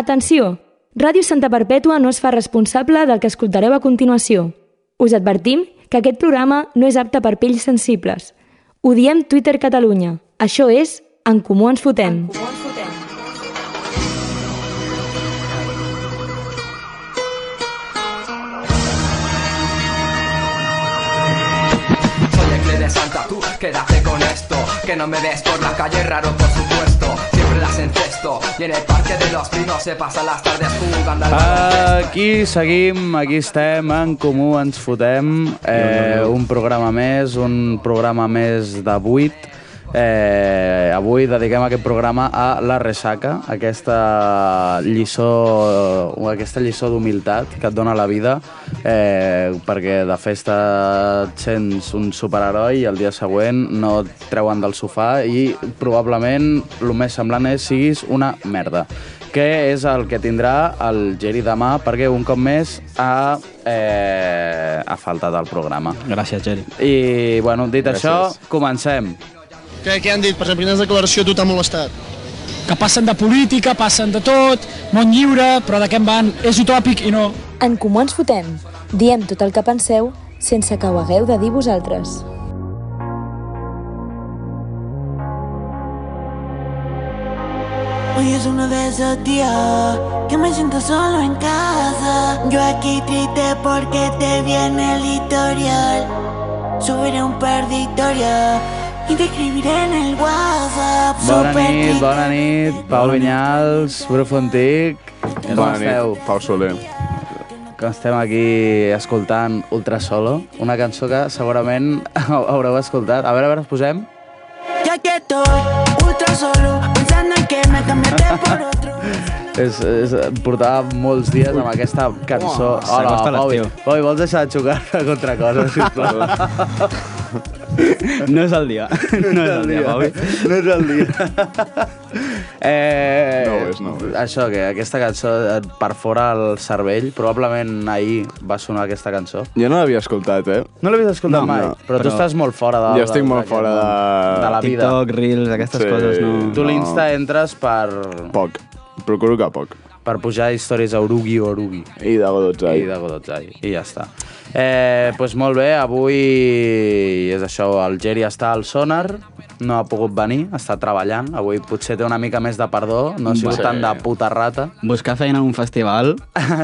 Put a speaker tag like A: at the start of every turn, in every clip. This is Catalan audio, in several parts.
A: Atenció! Ràdio Santa Perpètua no es fa responsable del que escoltareu a continuació. Us advertim que aquest programa no és apte per pells sensibles. Ho diem Twitter Catalunya. Això és En Comú Ens Fotem.
B: Soy el clé de Santa, tú quédate con esto Que no me ves por la calle, raro por supuesto Siempre las encesto Y en el parque de los pinos se pasan las tardes jugando al
C: Ah. Aquí seguim, aquí estem, en comú ens fotem. Eh, un programa més, un programa més de vuit. Eh, avui dediquem aquest programa a la ressaca, aquesta lliçó, aquesta lliçó d'humilitat que et dona la vida, eh, perquè de festa et sents un superheroi i el dia següent no et treuen del sofà i probablement el més semblant és siguis una merda que és el que tindrà el Geri demà, perquè un cop més ha, eh, ha faltat al programa.
D: Gràcies, Geri.
C: I, bueno, dit Gràcies. això, comencem.
E: Què, què han dit? Per exemple, quina declaració a tu t'ha molestat?
F: que passen de política, passen de tot, món lliure, però de què en van? És utòpic i no.
A: En Comú Ens Fotem. Diem tot el que penseu sense que ho hagueu de dir vosaltres.
G: Hoy es uno de esos días que me siento solo en casa. Yo aquí triste porque te viene el editorial. Subiré un par de historias y te escribiré en el WhatsApp.
C: Bona
G: Súper
C: nit,
G: triste.
C: bona nit, Pau Vinyals, Bru Fontic, com
H: Bona
C: esteu?
H: nit, Pau Soler.
C: Que estem aquí escoltant Ultra Solo, una cançó que segurament haureu escoltat. A veure, a veure, us posem.
G: Ya que estoy ultra solo, pensando en que me cambiaste por otro.
C: És, és, portava molts dies amb aquesta cançó. Hola,
D: s'acosta
C: Pau,
D: l'estiu.
C: Pau, vols deixar de xocar contra coses, sisplau?
D: No és el dia. No és el dia, Pau.
C: No és el dia. eh,
H: No ho és, no ho és.
C: Això, que aquesta cançó eh, et perfora el cervell. Probablement ahir va sonar aquesta cançó.
H: Jo no l'havia escoltat, eh?
C: No l'havies escoltat
D: No,
C: mai,
H: no,
C: però, tu
D: però-
C: estàs molt fora de...
H: Jo estic molt
C: d'aquest
H: fora
C: món,
H: de-
C: de la vida.
D: TikTok, Reels, aquestes
H: Sí.
D: coses,
C: Tu
D: no.
H: No.
C: l'Insta entres per,
H: Poc. Procuro que poc.
C: per pujar històries a Urugi o Urugi.
H: I de Godotzai.
C: I de Godotzai, i ja està. Eh, doncs molt bé, avui és això, el Geri està al sonar, no ha pogut venir, està treballant, avui potser té una mica més de perdó, no ha sigut
H: Sí.
C: tant de puta rata.
D: Buscar feina en un festival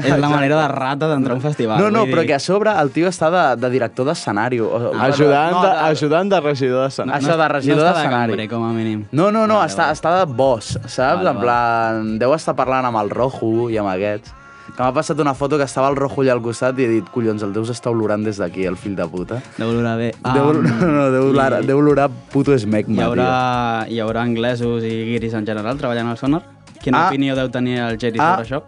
D: és la manera de rata d'entrar a un festival.
C: no, no,
D: vull
C: però
D: dir-
C: que a sobre el tio està de, de director d'escenari. o- o-
H: Ah, Ajudant,
C: no,
H: de,
C: de-
H: ajudant de regidor de
C: No,
H: Senat.
C: això de regidor
D: no està
C: d'escenari.
D: cambrer, com a mínim.
C: No, no, no, està, està de boss, saps?
D: Vale,
C: en plan, deu estar parlant amb el Rojo i amb aquests. Que m'ha passat una foto que estava el Rojo allà al costat i he dit, collons, el deus està olorant des d'aquí, el fill de puta.
D: Deu olorar bé.
C: Deu,
D: Am,
C: no, no, deu olorar,
D: i-
C: deu olorar puto esmecma,
D: Ah, mm. Hi haurà,
C: tio.
D: hi haurà anglesos i guiris en general treballant al Sonar? Quina
C: Ah.
D: opinió deu tenir el Jerry
C: Ah.
D: sobre això?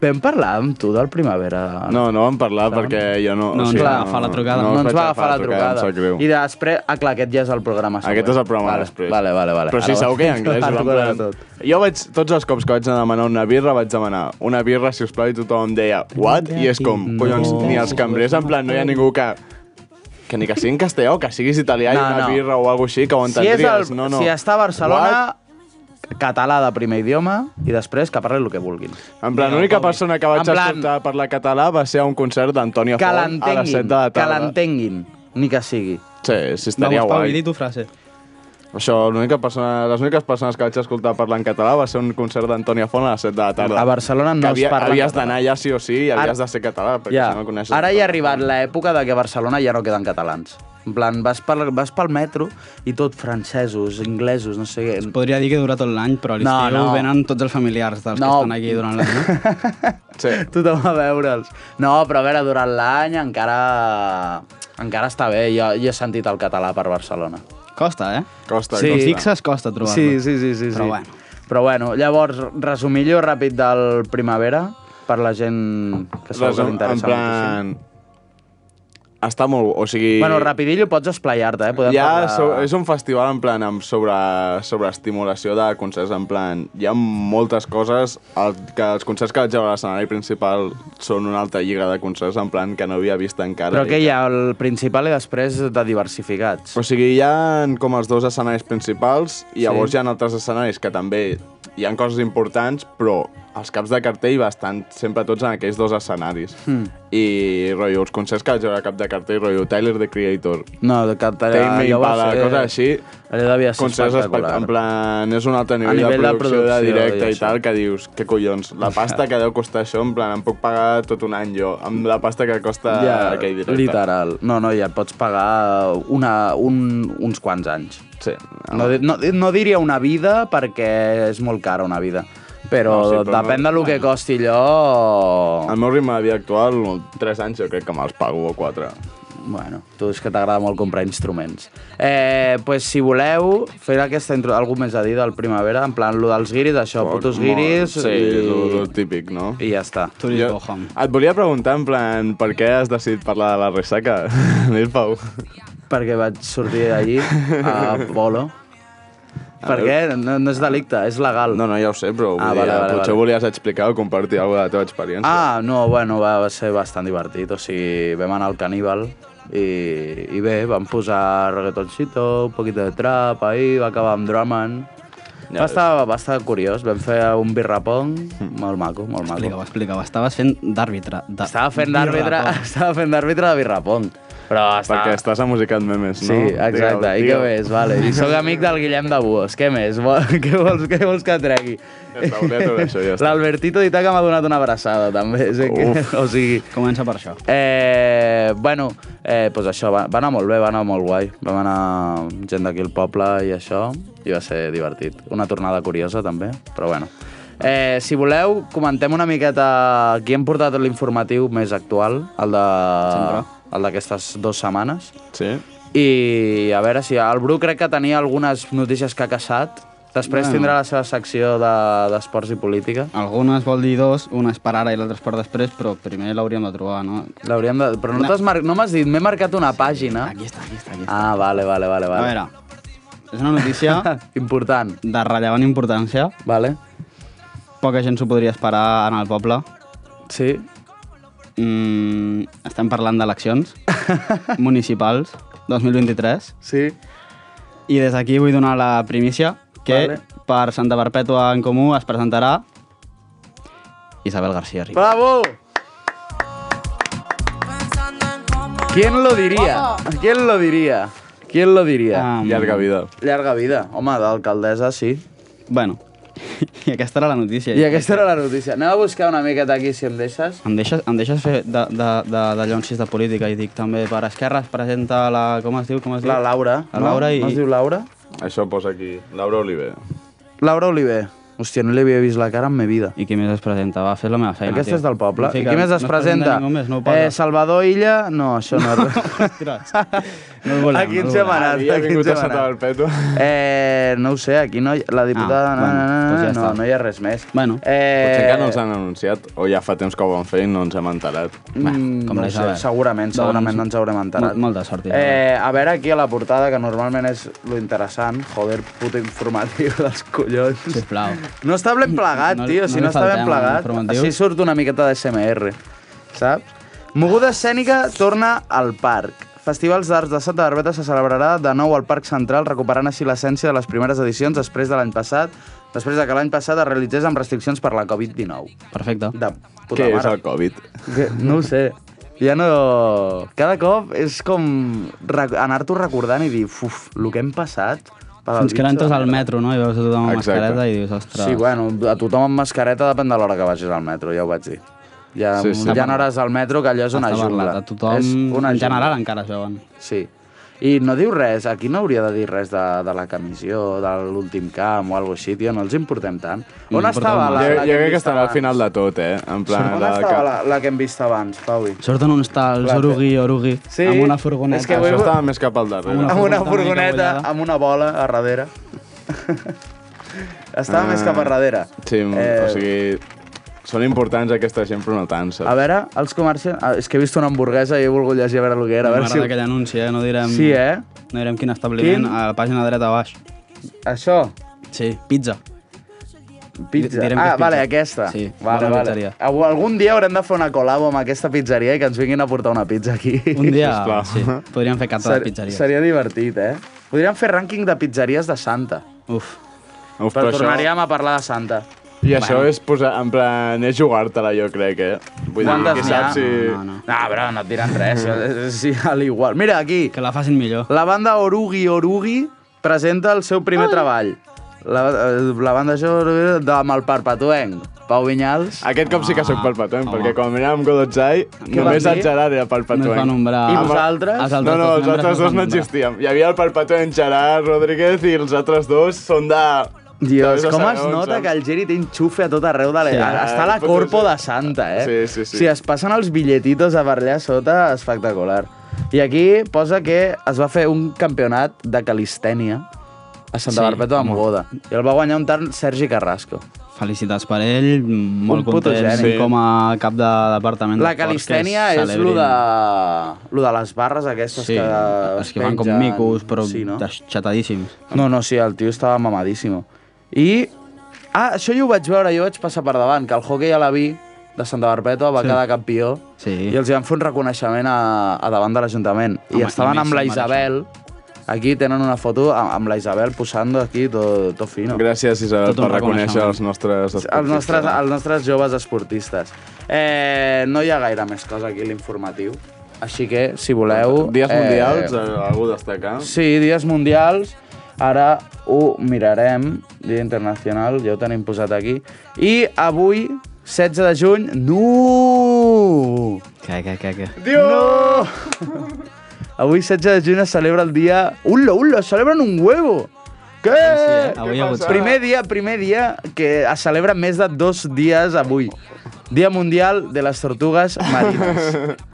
C: Vam parlar amb tu del Primavera?
H: No, no vam parlar perquè jo no...
D: No ens Doncs va agafar la trucada.
C: no,
D: no
C: no ens va agafar la trucada.
H: Em sap greu.
C: I després... Ah, clar, aquest ja és el programa següent.
H: Aquest és el programa
C: vale,
H: després.
C: Vale, vale, vale.
H: Però sí,
C: Ara
H: segur que hi ha
C: vas-
H: anglès.
C: ara
H: Ara
C: tocarà
H: plan... Jo vaig, tots els cops que vaig anar a demanar una birra, vaig demanar una birra, si us plau, i tothom em deia what? I és com, collons, ni els cambrers, en plan, no hi ha ningú que... Que ni que sigui en castellà o que siguis italià
C: No,
H: i
C: no.
H: una birra o alguna així, que ho
C: Si, és
H: entendries.
C: el,
H: no, no.
C: si està a Barcelona, català de primer idioma i després que parli el que vulguin.
H: En plan, l'única persona que vaig
C: En plan-
H: escoltar parlar català va ser a un concert d'Antònia
C: Que
H: Font a les 7
C: l'entenguin,
H: de la
C: que
H: tarda.
C: l'entenguin, ni que sigui.
H: Sí, sí, estaria
D: Vamos, Pau, i
H: guai.
D: di tu frase.
H: Això, l'única persona, les úniques persones que vaig escoltar parlar en català va ser un concert d'Antònia Font a les 7 de la tarda.
C: A Barcelona no
H: que
C: es parla en
H: Havies
C: català.
H: d'anar allà sí o sí i havies
C: Ara-
H: de ser català, perquè
C: Ja.
H: si no coneixes...
C: Ara ja ha arribat l'època de que a Barcelona ja no queden catalans. En plan, vas, per, vas pel metro i tot francesos, inglesos, no sé què.
D: Podria dir que dura tot l'any, però a l'estiu
C: No, no.
D: venen tots els familiars dels que
C: No.
D: estan aquí durant l'any. No?
H: Sí.
C: Tothom a veure'ls. No, però a veure, durant l'any encara... Encara està bé, jo, jo he sentit el català per Barcelona.
D: Costa, eh?
H: Costa,
C: Sí.
D: Si t'hi
H: costa.
D: fixes, costa trobar-lo.
C: Sí, sí, sí, sí.
D: Però
C: sí.
D: bueno.
C: Però bueno, llavors, resumillo ràpid del Primavera per la gent que segur que
H: Resum, Doncs, en
C: l'interessa moltíssim.
H: plan... Està molt... O sigui...
C: Bueno, rapidillo pots esplayar-te, eh? Podem
H: Ja
C: parlar...
H: so, és un festival en plan amb sobre, sobre estimulació de concerts, en plan, hi ha moltes coses, el, que els concerts que vaig veure a l'escenari principal són una altra lliga de concerts, en plan, que no havia vist encara.
C: Però
H: i
C: que hi ha el principal i després de diversificats.
H: O sigui, hi ha com els dos escenaris principals i llavors
C: Sí.
H: hi ha altres escenaris que també hi hi han coses importants, però els caps de cartell bastant sempre tots en aquells dos escenaris.
C: Hmm.
H: Mm. I, rotllo, els concerts que vaig veure a cap de cartell, rotllo, Tyler, the Creator,
C: No, de Català...
H: Tame Impala,
C: eh,
H: coses així.
C: Allò devia ser
H: concerts
C: espectacular.
H: espectacular. En plan, és un altre nivell,
C: nivell de
H: de producció, de,
C: producció
H: directe
C: i
H: i,
C: això.
H: tal, que dius, què collons, la pasta que deu costar això, en plan, em puc pagar tot un any jo, amb la pasta que costa ja, aquell directe.
C: literal. No, no, ja et pots pagar una, un, uns quants anys.
H: Sí.
C: No, di- no, di- no diria una vida perquè és molt cara una vida, però,
H: No, sí,
C: no, sí,
H: però no-
C: però depèn no, del que costi allò...
H: Al meu ritme de vida actual, 3 anys jo crec que me'ls pago o 4.
C: Bueno, tu és que t'agrada molt comprar instruments. Eh, pues, si voleu fer aquesta intro... Algú més a dir del Primavera? En plan, lo dels guiris, això, putos guiris...
H: Sí,
C: i...
H: lo, lo típic, no?
C: I ja està.
D: Tu li cojan.
H: et volia preguntar, en plan, per què has decidit parlar de la ressaca, Nil Pau?
C: Perquè vaig sortir d'allí, a Polo. Per què? No, no és delicte, és legal.
H: No, no, ja ho sé, però
C: Ah,
H: ah,
C: vale,
H: vale,
C: vale,
H: potser
C: vale.
H: volies explicar o compartir alguna de la teva experiència.
C: Ah, no, bueno, va, va ser bastant divertit. O sigui, vam anar al Caníbal i, i bé, vam posar reggaetoncito, un poquito de trap, ahí va acabar amb drum and... va,
H: Ja
C: estar, va estar curiós, vam fer un birrapong, molt maco, molt maco.
D: Explica-ho, explica-ho. Estaves fent d'àrbitre. de-
C: Estava fent d'àrbitre,
D: Birra,
C: estava fent d'àrbitre de birrapong. Però estava...
H: Perquè estàs a musicat memes,
C: Sí,
H: no?
C: exacte. I què més? Vale. I sóc amic del Guillem de Buos. Què més? Vol- Què vols, què vols que tregui?
H: Està, volia treure això, ja està.
C: L'Albertito d'Itaca m'ha donat una abraçada, també. Sé que, o sigui...
D: Comença per això.
C: Eh, bueno, eh, pues això, va, va anar molt bé, va anar molt guai. Vam anar amb gent d'aquí al poble i això, i va ser divertit. Una tornada curiosa, també, però bueno. Eh, si voleu, comentem una miqueta qui hem portat l'informatiu més actual, el de...
D: Sempre.
C: El d'aquestes dues setmanes.
H: Sí?
C: I a veure si el Bru crec que tenia algunes notícies que ha caçat. Després bueno.
D: Bueno.
C: tindrà la seva secció de- d'esports de, i política.
D: Algunes vol dir dos, una és per ara i l'altra és per després, però primer l'hauríem de trobar, no?
C: L'hauríem de... Però no, t'has mar... no m'has dit, m'he marcat una pàgina.
D: Aquí està, aquí està, aquí està.
C: Ah, vale, vale, vale.
D: A
C: vale.
D: veure, és una notícia
C: Important.
D: de rellevant importància.
C: Vale.
D: Poca gent s'ho podria esperar en el poble.
C: Sí.
D: Mm, estem parlant d'eleccions municipals 2023.
C: Sí.
D: I des d'aquí vull donar la primícia que
C: Vale.
D: per Santa Perpètua en Comú es presentarà Isabel García Rico.
C: Bravo! ¿Quién lo diria? ¿Quién lo diria? ¿Quién lo diria?
D: Um,
H: Llarga vida.
C: Llarga vida. Home, d'alcaldessa, sí.
D: Bueno, i aquesta era la notícia.
C: I aquesta era la notícia. Anem a buscar una miqueta aquí, si em deixes.
D: Em deixes, em deixes fer de, de, de, de llonsis de política i dic també per Esquerra es presenta la... com es diu? Com es diu?
C: La Laura.
D: La Laura
C: no?
D: i...
C: No es diu Laura?
H: Això posa aquí. Laura Oliver.
C: Laura Oliver. Hòstia, no li havia vist la cara en ma vida.
D: I qui més es presenta? Va, fes la meva feina,
C: Aquesta
D: tio.
C: és del poble.
D: No
C: I
D: fica-
C: qui més es
D: no
C: presenta?
D: ningú més, no ho paga.
C: eh, Salvador Illa? No, això no.
D: Ostres. No el volem,
C: a qui
D: no el
C: ens
D: volem.
C: hem anat?
H: Havia
C: A qui
H: vingut
C: ens
H: a
C: hem
H: Santa
C: anat?
H: Perpètua.
C: Eh, no ho sé, aquí no hi... la diputada...
D: Ah,
C: no,
D: bueno,
C: no, no,
D: doncs ja
C: no,
D: està.
C: no hi ha res més.
D: Bueno,
C: eh,
H: Potser encara no ens han anunciat, o ja fa temps que ho van fer i no ens hem enterat.
C: Mm,
D: Bé,
C: no
D: com la
C: ho sé,
D: Isabel.
C: segurament,
D: Doncs,
C: segurament no ens haurem enterat.
D: molt- molta sort, Isabel.
C: Eh, a veure aquí a la portada, que normalment és lo interessant. Joder, puto informatiu dels collons.
D: Sisplau.
C: No està ben plegat,
D: No-
C: tio,
D: no
C: si
D: li
C: no està
D: faltem
C: ben plegat.
D: informatius.
C: Així surt una miqueta de SMR, saps? Moguda escènica torna al parc. Festivals d'Arts de Santa Barbeta se celebrarà de nou al Parc Central, recuperant així l'essència de les primeres edicions després de l'any passat, després de que l'any passat es realitzés amb restriccions per la Covid-19.
D: Perfecte.
C: De puta
H: Què és
C: mare.
H: el Covid?
C: Que, no ho sé. Ja no... Cada cop és com rec- anar-t'ho recordant i dir, uf, el que hem passat... per al
D: Fins que
C: bitxo
D: l'entres
C: de
D: al
C: merda."
D: metro, no? I veus a tothom amb
H: Exacte.
D: mascareta i dius, ostres...
C: Sí, bueno, a tothom amb mascareta depèn de l'hora que vagis al metro, ja ho vaig dir. Hi ha, sí,
H: Sí,
C: sí,
H: sí.
C: hi ha hores al metro que allò és una
D: està
C: jungla.
D: parlat. A tothom,
C: és una
D: en
C: jungla.
D: general, encara es veuen.
C: Sí. I no diu res, aquí no hauria de dir res de, de la comissió, de l'últim camp o alguna així, tio, no els importem tant. On
D: importa
C: estava
D: molt.
C: la,
H: jo,
C: la que hem
H: jo crec que
C: vist
H: estarà al
C: abans?
H: final de tot, eh? En plan,
C: On
H: la,
C: estava la, la que hem vist abans, Paui?
D: Surten uns tals,
C: Clar,
D: orugi, orugi,
C: Sí,
D: amb una
C: és
D: furgoneta.
C: que
H: Això
C: vull-
H: estava més cap al darrere.
D: Amb
C: Amb una
D: furgoneta
C: furgoneta,
D: encabullada.
C: amb una bola a darrere.
H: Ah.
C: estava més cap a darrere. Eh,
H: Sí, o sigui, són importants aquesta gent, però no tant,
C: A
H: saps?
C: veure, els comerciants... Ah, és que he vist una hamburguesa i he volgut llegir a veure el que era. A veure si...
D: aquell anunci, eh? No direm...
C: Sí, eh?
D: No direm quin establiment,
C: Quin?
D: a la pàgina dreta a baix.
C: Això,
D: Sí, pizza.
C: pizza.
D: Direm que
C: Ah,
D: és
C: vale,
D: pizza.
C: aquesta.
D: Sí,
C: vale,
D: bona
C: vale.
D: pizzeria.
C: Algú- Algun dia haurem de fer una col·labo amb aquesta pizzeria i que ens vinguin a portar una pizza aquí.
D: Un dia,
H: Sisplau.
D: sí, podríem fer cata de pizzeria.
C: Seria divertit, eh? Podríem fer rànquing de pizzeries de Santa.
D: Uf,
H: Uf,
C: però,
H: però això-
C: tornaríem a parlar de Santa.
H: I això és posar, en plan, és jugar-te-la, jo crec, eh? Vull dir,
C: Quantes
H: qui
C: n'hi ha?
H: sap si...
D: No, no.
C: No, però no et diran res, sí, a l'igual. Mira, aquí,
D: Que la facin millor.
C: la banda Orugi Orugi presenta el seu primer treball. La, eh, la banda això de amb el Parpatuenc, Pau Vinyals.
H: Aquest cop sí que
D: Ah,
H: sóc palpatuent, perquè quan miràvem Godotzai,
C: vas
H: només
C: dir?
H: el Gerard era palpatuent.
D: No es va nombrar.
C: I
H: Amb-
C: vosaltres?
D: Els
H: No,
D: altres
H: no,
D: dos
H: els
D: membres
H: altres
D: no es
H: dos
D: van
H: no
D: nombrar.
H: existíem. Hi havia el palpatuent Gerard Rodríguez i els altres dos són de...
C: Dios,
H: també de
C: com es
H: segons,
C: nota
H: saps?
C: que el Geri té enxufe a tot arreu de l'era.
H: Sí.
C: Està a la
H: Pot ser,
C: corpo
H: sí.
C: de Santa, eh?
H: Sí, sí, sí.
C: Si es passen els billetitos a per allà sota, espectacular. I aquí posa que es va fer un campionat de calistènia a Santa
D: Sí,
C: Barbeto de Mogoda. I el va guanyar un tant Sergi Carrasco.
D: Felicitats per ell, molt
C: puto
D: content
C: geni.
D: com a cap de departament.
C: La
D: d'esports
C: calistènia
D: que
C: és lo
D: celebrin.
C: de, lo de les barres aquestes
D: Sí,
C: que
D: els
C: es
D: que van com
C: pengen.
D: micos, però
C: Sí, no?
D: xatadíssims.
C: No, no, sí, el tio estava mamadíssim. I... Ah, això jo ho vaig veure, jo vaig passar per davant, que el hockey a la vi de Santa Barbeto va sí. quedar campió
D: Sí.
C: i els hi van fer un reconeixement a, a davant de l'Ajuntament. I
D: Home,
C: estaven
D: només
C: amb la
D: se'n mereix.
C: Isabel, aquí tenen una foto amb, amb la Isabel posant aquí tot, tot fino.
H: Gràcies, Isabel,
D: Tot un
H: per reconèixer
D: reconeixement.
H: els nostres...
C: Els nostres,
H: esportistes.
C: els nostres joves esportistes. Eh, no hi ha gaire més cosa aquí a l'informatiu, així que, si voleu...
H: Dies
C: eh,
H: mundials, eh, algú destacar?
C: Sí, dies mundials. Ara ho mirarem, Dia Internacional, ja ho tenim posat aquí. I avui, 16 de juny, no!
D: Que, que, que, que.
C: Dios! No! Avui, 16 de juny, es celebra el dia... Ulo, ulo, celebren un huevo! Què?
D: eh? Avui hi ha hagut-
C: Primer dia, primer dia que es celebra més de dos dies avui. Dia Mundial de les Tortugues Marines.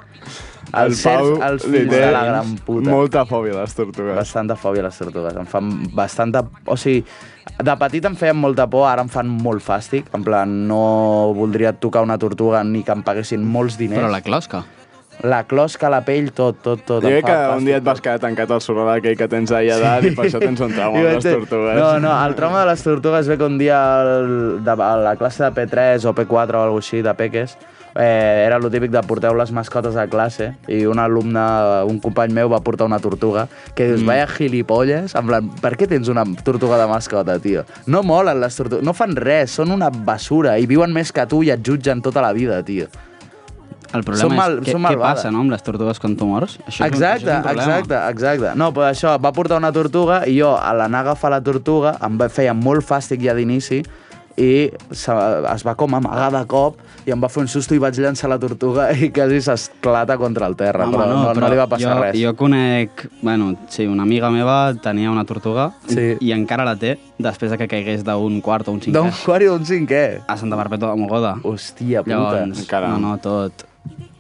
C: El, el Sergi, els
H: li
C: fills
H: té
C: de la gran puta.
H: Molta fòbia a les tortugues.
C: Bastanta fòbia a les tortugues. Em fan bastanta... O sigui, de petit em feien molta por, ara em fan molt fàstic. En plan, no voldria tocar una tortuga ni que em paguessin molts diners.
D: Però la closca.
C: la closca, la pell, tot, tot, tot.
H: Jo
C: em
H: crec
C: fa
H: que
C: fàstic.
H: un dia et vas quedar tancat al sorral aquell que tens allà dalt i per això tens un
C: I
H: trauma amb
C: vaig
H: les
C: dir-
H: tortugues.
C: No, no, el trauma de les tortugues ve que un dia el, de, a la classe de P3 o P4 o alguna així, de peques, eh, era lo típic de porteu les mascotes a classe i un alumne, un company meu va portar una tortuga que dius, mm. vaya gilipolles, en plan, per què tens una tortuga de mascota, tio? No molen les tortugues, no fan res, són una basura i viuen més que tu i et jutgen tota la vida, tio.
D: El problema
C: Són mal-
D: és què,
C: són
D: què
C: malvades.
D: passa no, amb les tortugues quan tu mors. Això és un-
C: Exacte,
D: això és un problema.
C: exacte, exacte. No, però això, va portar una tortuga i jo, a l'anar a agafar la tortuga, em va, feia molt fàstic ja d'inici i se, es va com amagar de cop i em va fer un susto i vaig llançar la tortuga i quasi s'esclata contra el terra,
D: Home,
C: però, no, no,
D: però
C: li va passar
D: jo,
C: res.
D: Jo conec... Bueno, sí, una amiga meva tenia una tortuga
C: Sí.
D: i encara la té després de que caigués d'un quart o un cinquè
C: D'un quart i un cinquè.
D: a Santa Barbeto de Mogoda.
C: Hòstia puta.
D: Llavors,
H: Encara.
D: no, no, tot.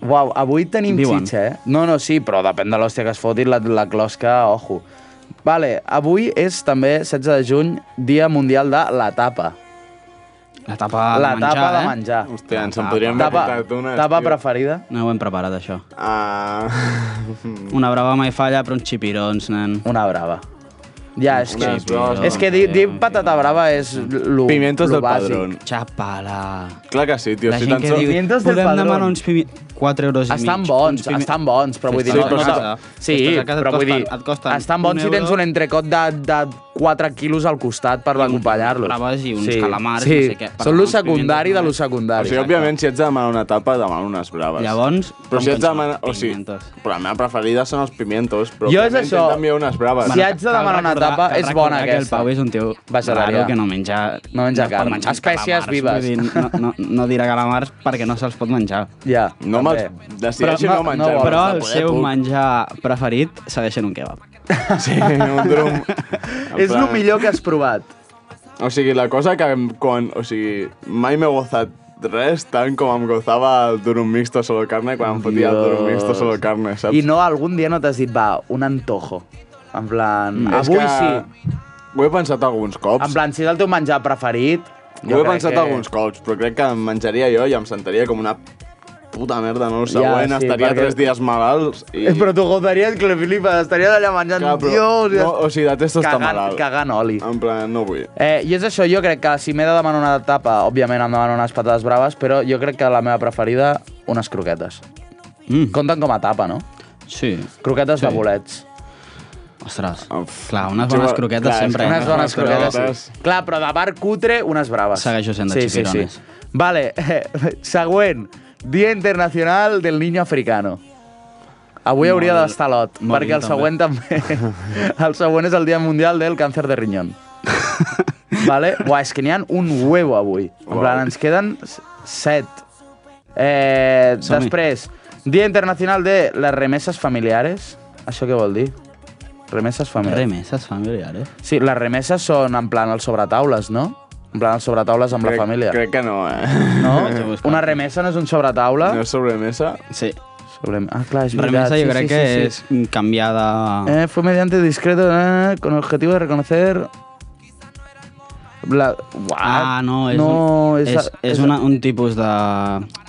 C: Uau, avui tenim
D: Doncs- Diuen.
C: xitxa, eh? No, no, sí, però depèn de l'hòstia que es foti, la, la closca, ojo. Vale, avui és també, 16 de juny, Dia Mundial de la Tapa.
D: La tapa de
C: la
D: menjar,
C: tapa de
D: eh?
C: menjar.
H: Hòstia, ens en podríem haver
C: Tapa,
H: portat una.
C: tapa preferida?
D: No ho hem preparat, això.
H: Ah...
D: Una brava mai falla, però uns xipirons, nen.
C: Una brava. Ja, és que,
H: Unes braves,
C: és que dir, dir patata brava és lo,
H: Pimientos
C: lo
H: del
C: bàsic.
H: padrón.
D: Xapala.
H: Clar que sí, tio.
D: La
H: Si
D: gent
H: tan
D: que
H: sols...
D: diu,
C: Pimientos del
D: podem
C: padrón".
D: demanar uns pimientos... 4 euros i mig.
C: Estan bons,
D: uns pimi-
C: estan bons, però vull dir...
H: Sí,
C: no, no,
H: però a
C: no,
H: casa.
C: sí,
D: Fes-te'ls a casa, et
C: però vull dir,
D: costen- et costen
C: estan
D: un
C: bons si tens
D: euro.
C: un entrecot de, de 4 quilos al costat per acompanyar-los.
D: braves i uns calamars,
C: sí.
D: no sé què. Per
C: Són lo
D: demanar uns
C: secundari
D: pimientos
C: de lo
D: només.
H: O
C: secundari.
H: sigui, òbviament, si ets de demanar una tapa, demana unes braves.
D: Llavors,
H: Però si
D: com
H: ets
D: que
H: de
D: ens
H: demanar...
D: fan
H: O sigui,
D: pimientos?
H: però la meva preferida són els pimientos, però
C: Jo és
H: òbviament
C: això.
H: t'envia unes braves.
C: Si haig de
D: Cal
C: demanar una
D: recordar-
C: tapa,
D: cal
C: és bona
D: recordar que el
C: aquesta.
D: Pau és un tio
C: Vegetarià.
D: raro que no menja...
C: No menja
D: pot
C: carn.
D: menjar ni
C: Espècies
D: calamars,
C: vives.
D: vull dir, No, no, no dirà calamars perquè no se'ls pot menjar.
C: Ja,
H: No me'ls...
C: també.
H: Decideixo
C: Però
H: no,
C: no-
H: menjar
C: no vols,
D: Però el seu menjar preferit segueix sent un kebab.
H: Sí, un drum. En
C: És el
H: plan-
C: millor que has provat.
H: O sigui, la cosa que em- quan... O sigui, mai m'he gozat res tant com em gozava el durum mixto solo carne quan em fotia el durum mixto solo carne, saps?
C: I no, algun dia no t'has dit, va, un antojo. En plan, mm. avui que... sí.
H: Ho he pensat alguns cops.
C: En plan, si és el teu menjar preferit...
H: Jo ho he
C: crec
H: pensat
C: que-
H: que... alguns cops, però crec que em menjaria jo i em sentaria com una puta merda, no? El
C: Ja,
H: següent
C: sí,
H: estaria
C: perquè-
H: perquè... tres dies malalts i...
C: Eh, Però t'ho gotaries que li flipes, estaries allà menjant,
H: Clar, però-
C: Dios... i-
H: no, o sigui, detesto estar
C: cagant,
H: malalt. Ah.
C: Cagant oli.
H: En plan, no vull.
C: Eh, I és això, jo crec que si m'he de demanar una tapa, òbviament em demano unes patates braves, però jo crec que la meva preferida, unes croquetes.
D: Mm.
C: Compten com a tapa, no?
D: Sí.
C: Croquetes sí. de bolets.
D: Ostres,
H: Uf.
D: clar, unes
H: Jo-
D: bones croquetes
H: clar, és
D: sempre.
H: que
D: eh?
C: Unes bones
H: Però-
C: croquetes. Clar, però de bar cutre, unes braves.
D: Segueixo sent de Chipirones.
C: Vale, eh, següent. Dia Internacional del Niño Africano. Avui
D: Molt-
C: hauria d'estar a lot,
D: molt
C: perquè el
D: bé,
C: següent també. el següent és el Dia Mundial del Càncer de Rinyón. vale? Buah, és que n'hi ha un huevo avui. En
H: Uau.
C: plan, ens queden s- set. Eh,
D: Som-hi.
C: després, Dia Internacional de les Remeses Familiares. Això què vol dir? Remeses familiares.
D: Remeses familiares.
C: Sí, les remeses són en plan els sobretaules, no? En plan els sobretaules amb
H: crec,
C: la família.
H: Crec que no, eh?
C: No? Una remesa no és un sobretaula?
H: No és sobremesa?
D: Sí.
C: Sobre... Ah, clar, és veritat.
D: Remesa
C: sí,
D: jo crec
C: sí,
D: que
C: sí,
D: és Ah. canviar de...
C: Eh, fue mediante discreto eh, con el objetivo de reconocer... La... Uah,
D: Ah, no, és,
C: no,
D: un,
C: és,
D: és, és una, un tipus de...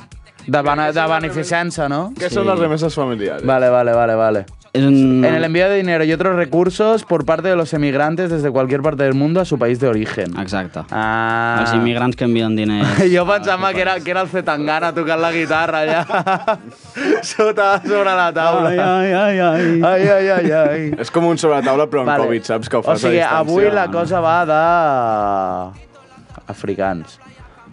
C: De, bana, de beneficença, no?
H: Què
D: Sí.
H: són les remeses familiares?
C: Vale, vale, vale, vale.
D: És un...
C: En el envío de dinero y otros recursos por parte de los emigrantes desde cualquier parte del mundo a su país de origen.
D: Exacte. Ah.
C: Ah.
D: Els immigrants que envien diners.
C: Jo pensava que era, que era el Zetangana tocant la guitarra allà sota, sobre la taula.
D: Ai, ai, ai, ai.
C: ai, ai, ai, ai.
H: És com un sobretaula, però amb
C: Vale.
H: Covid, saps que ho fas
C: O sigui,
H: a distància.
C: avui la cosa va de... africans.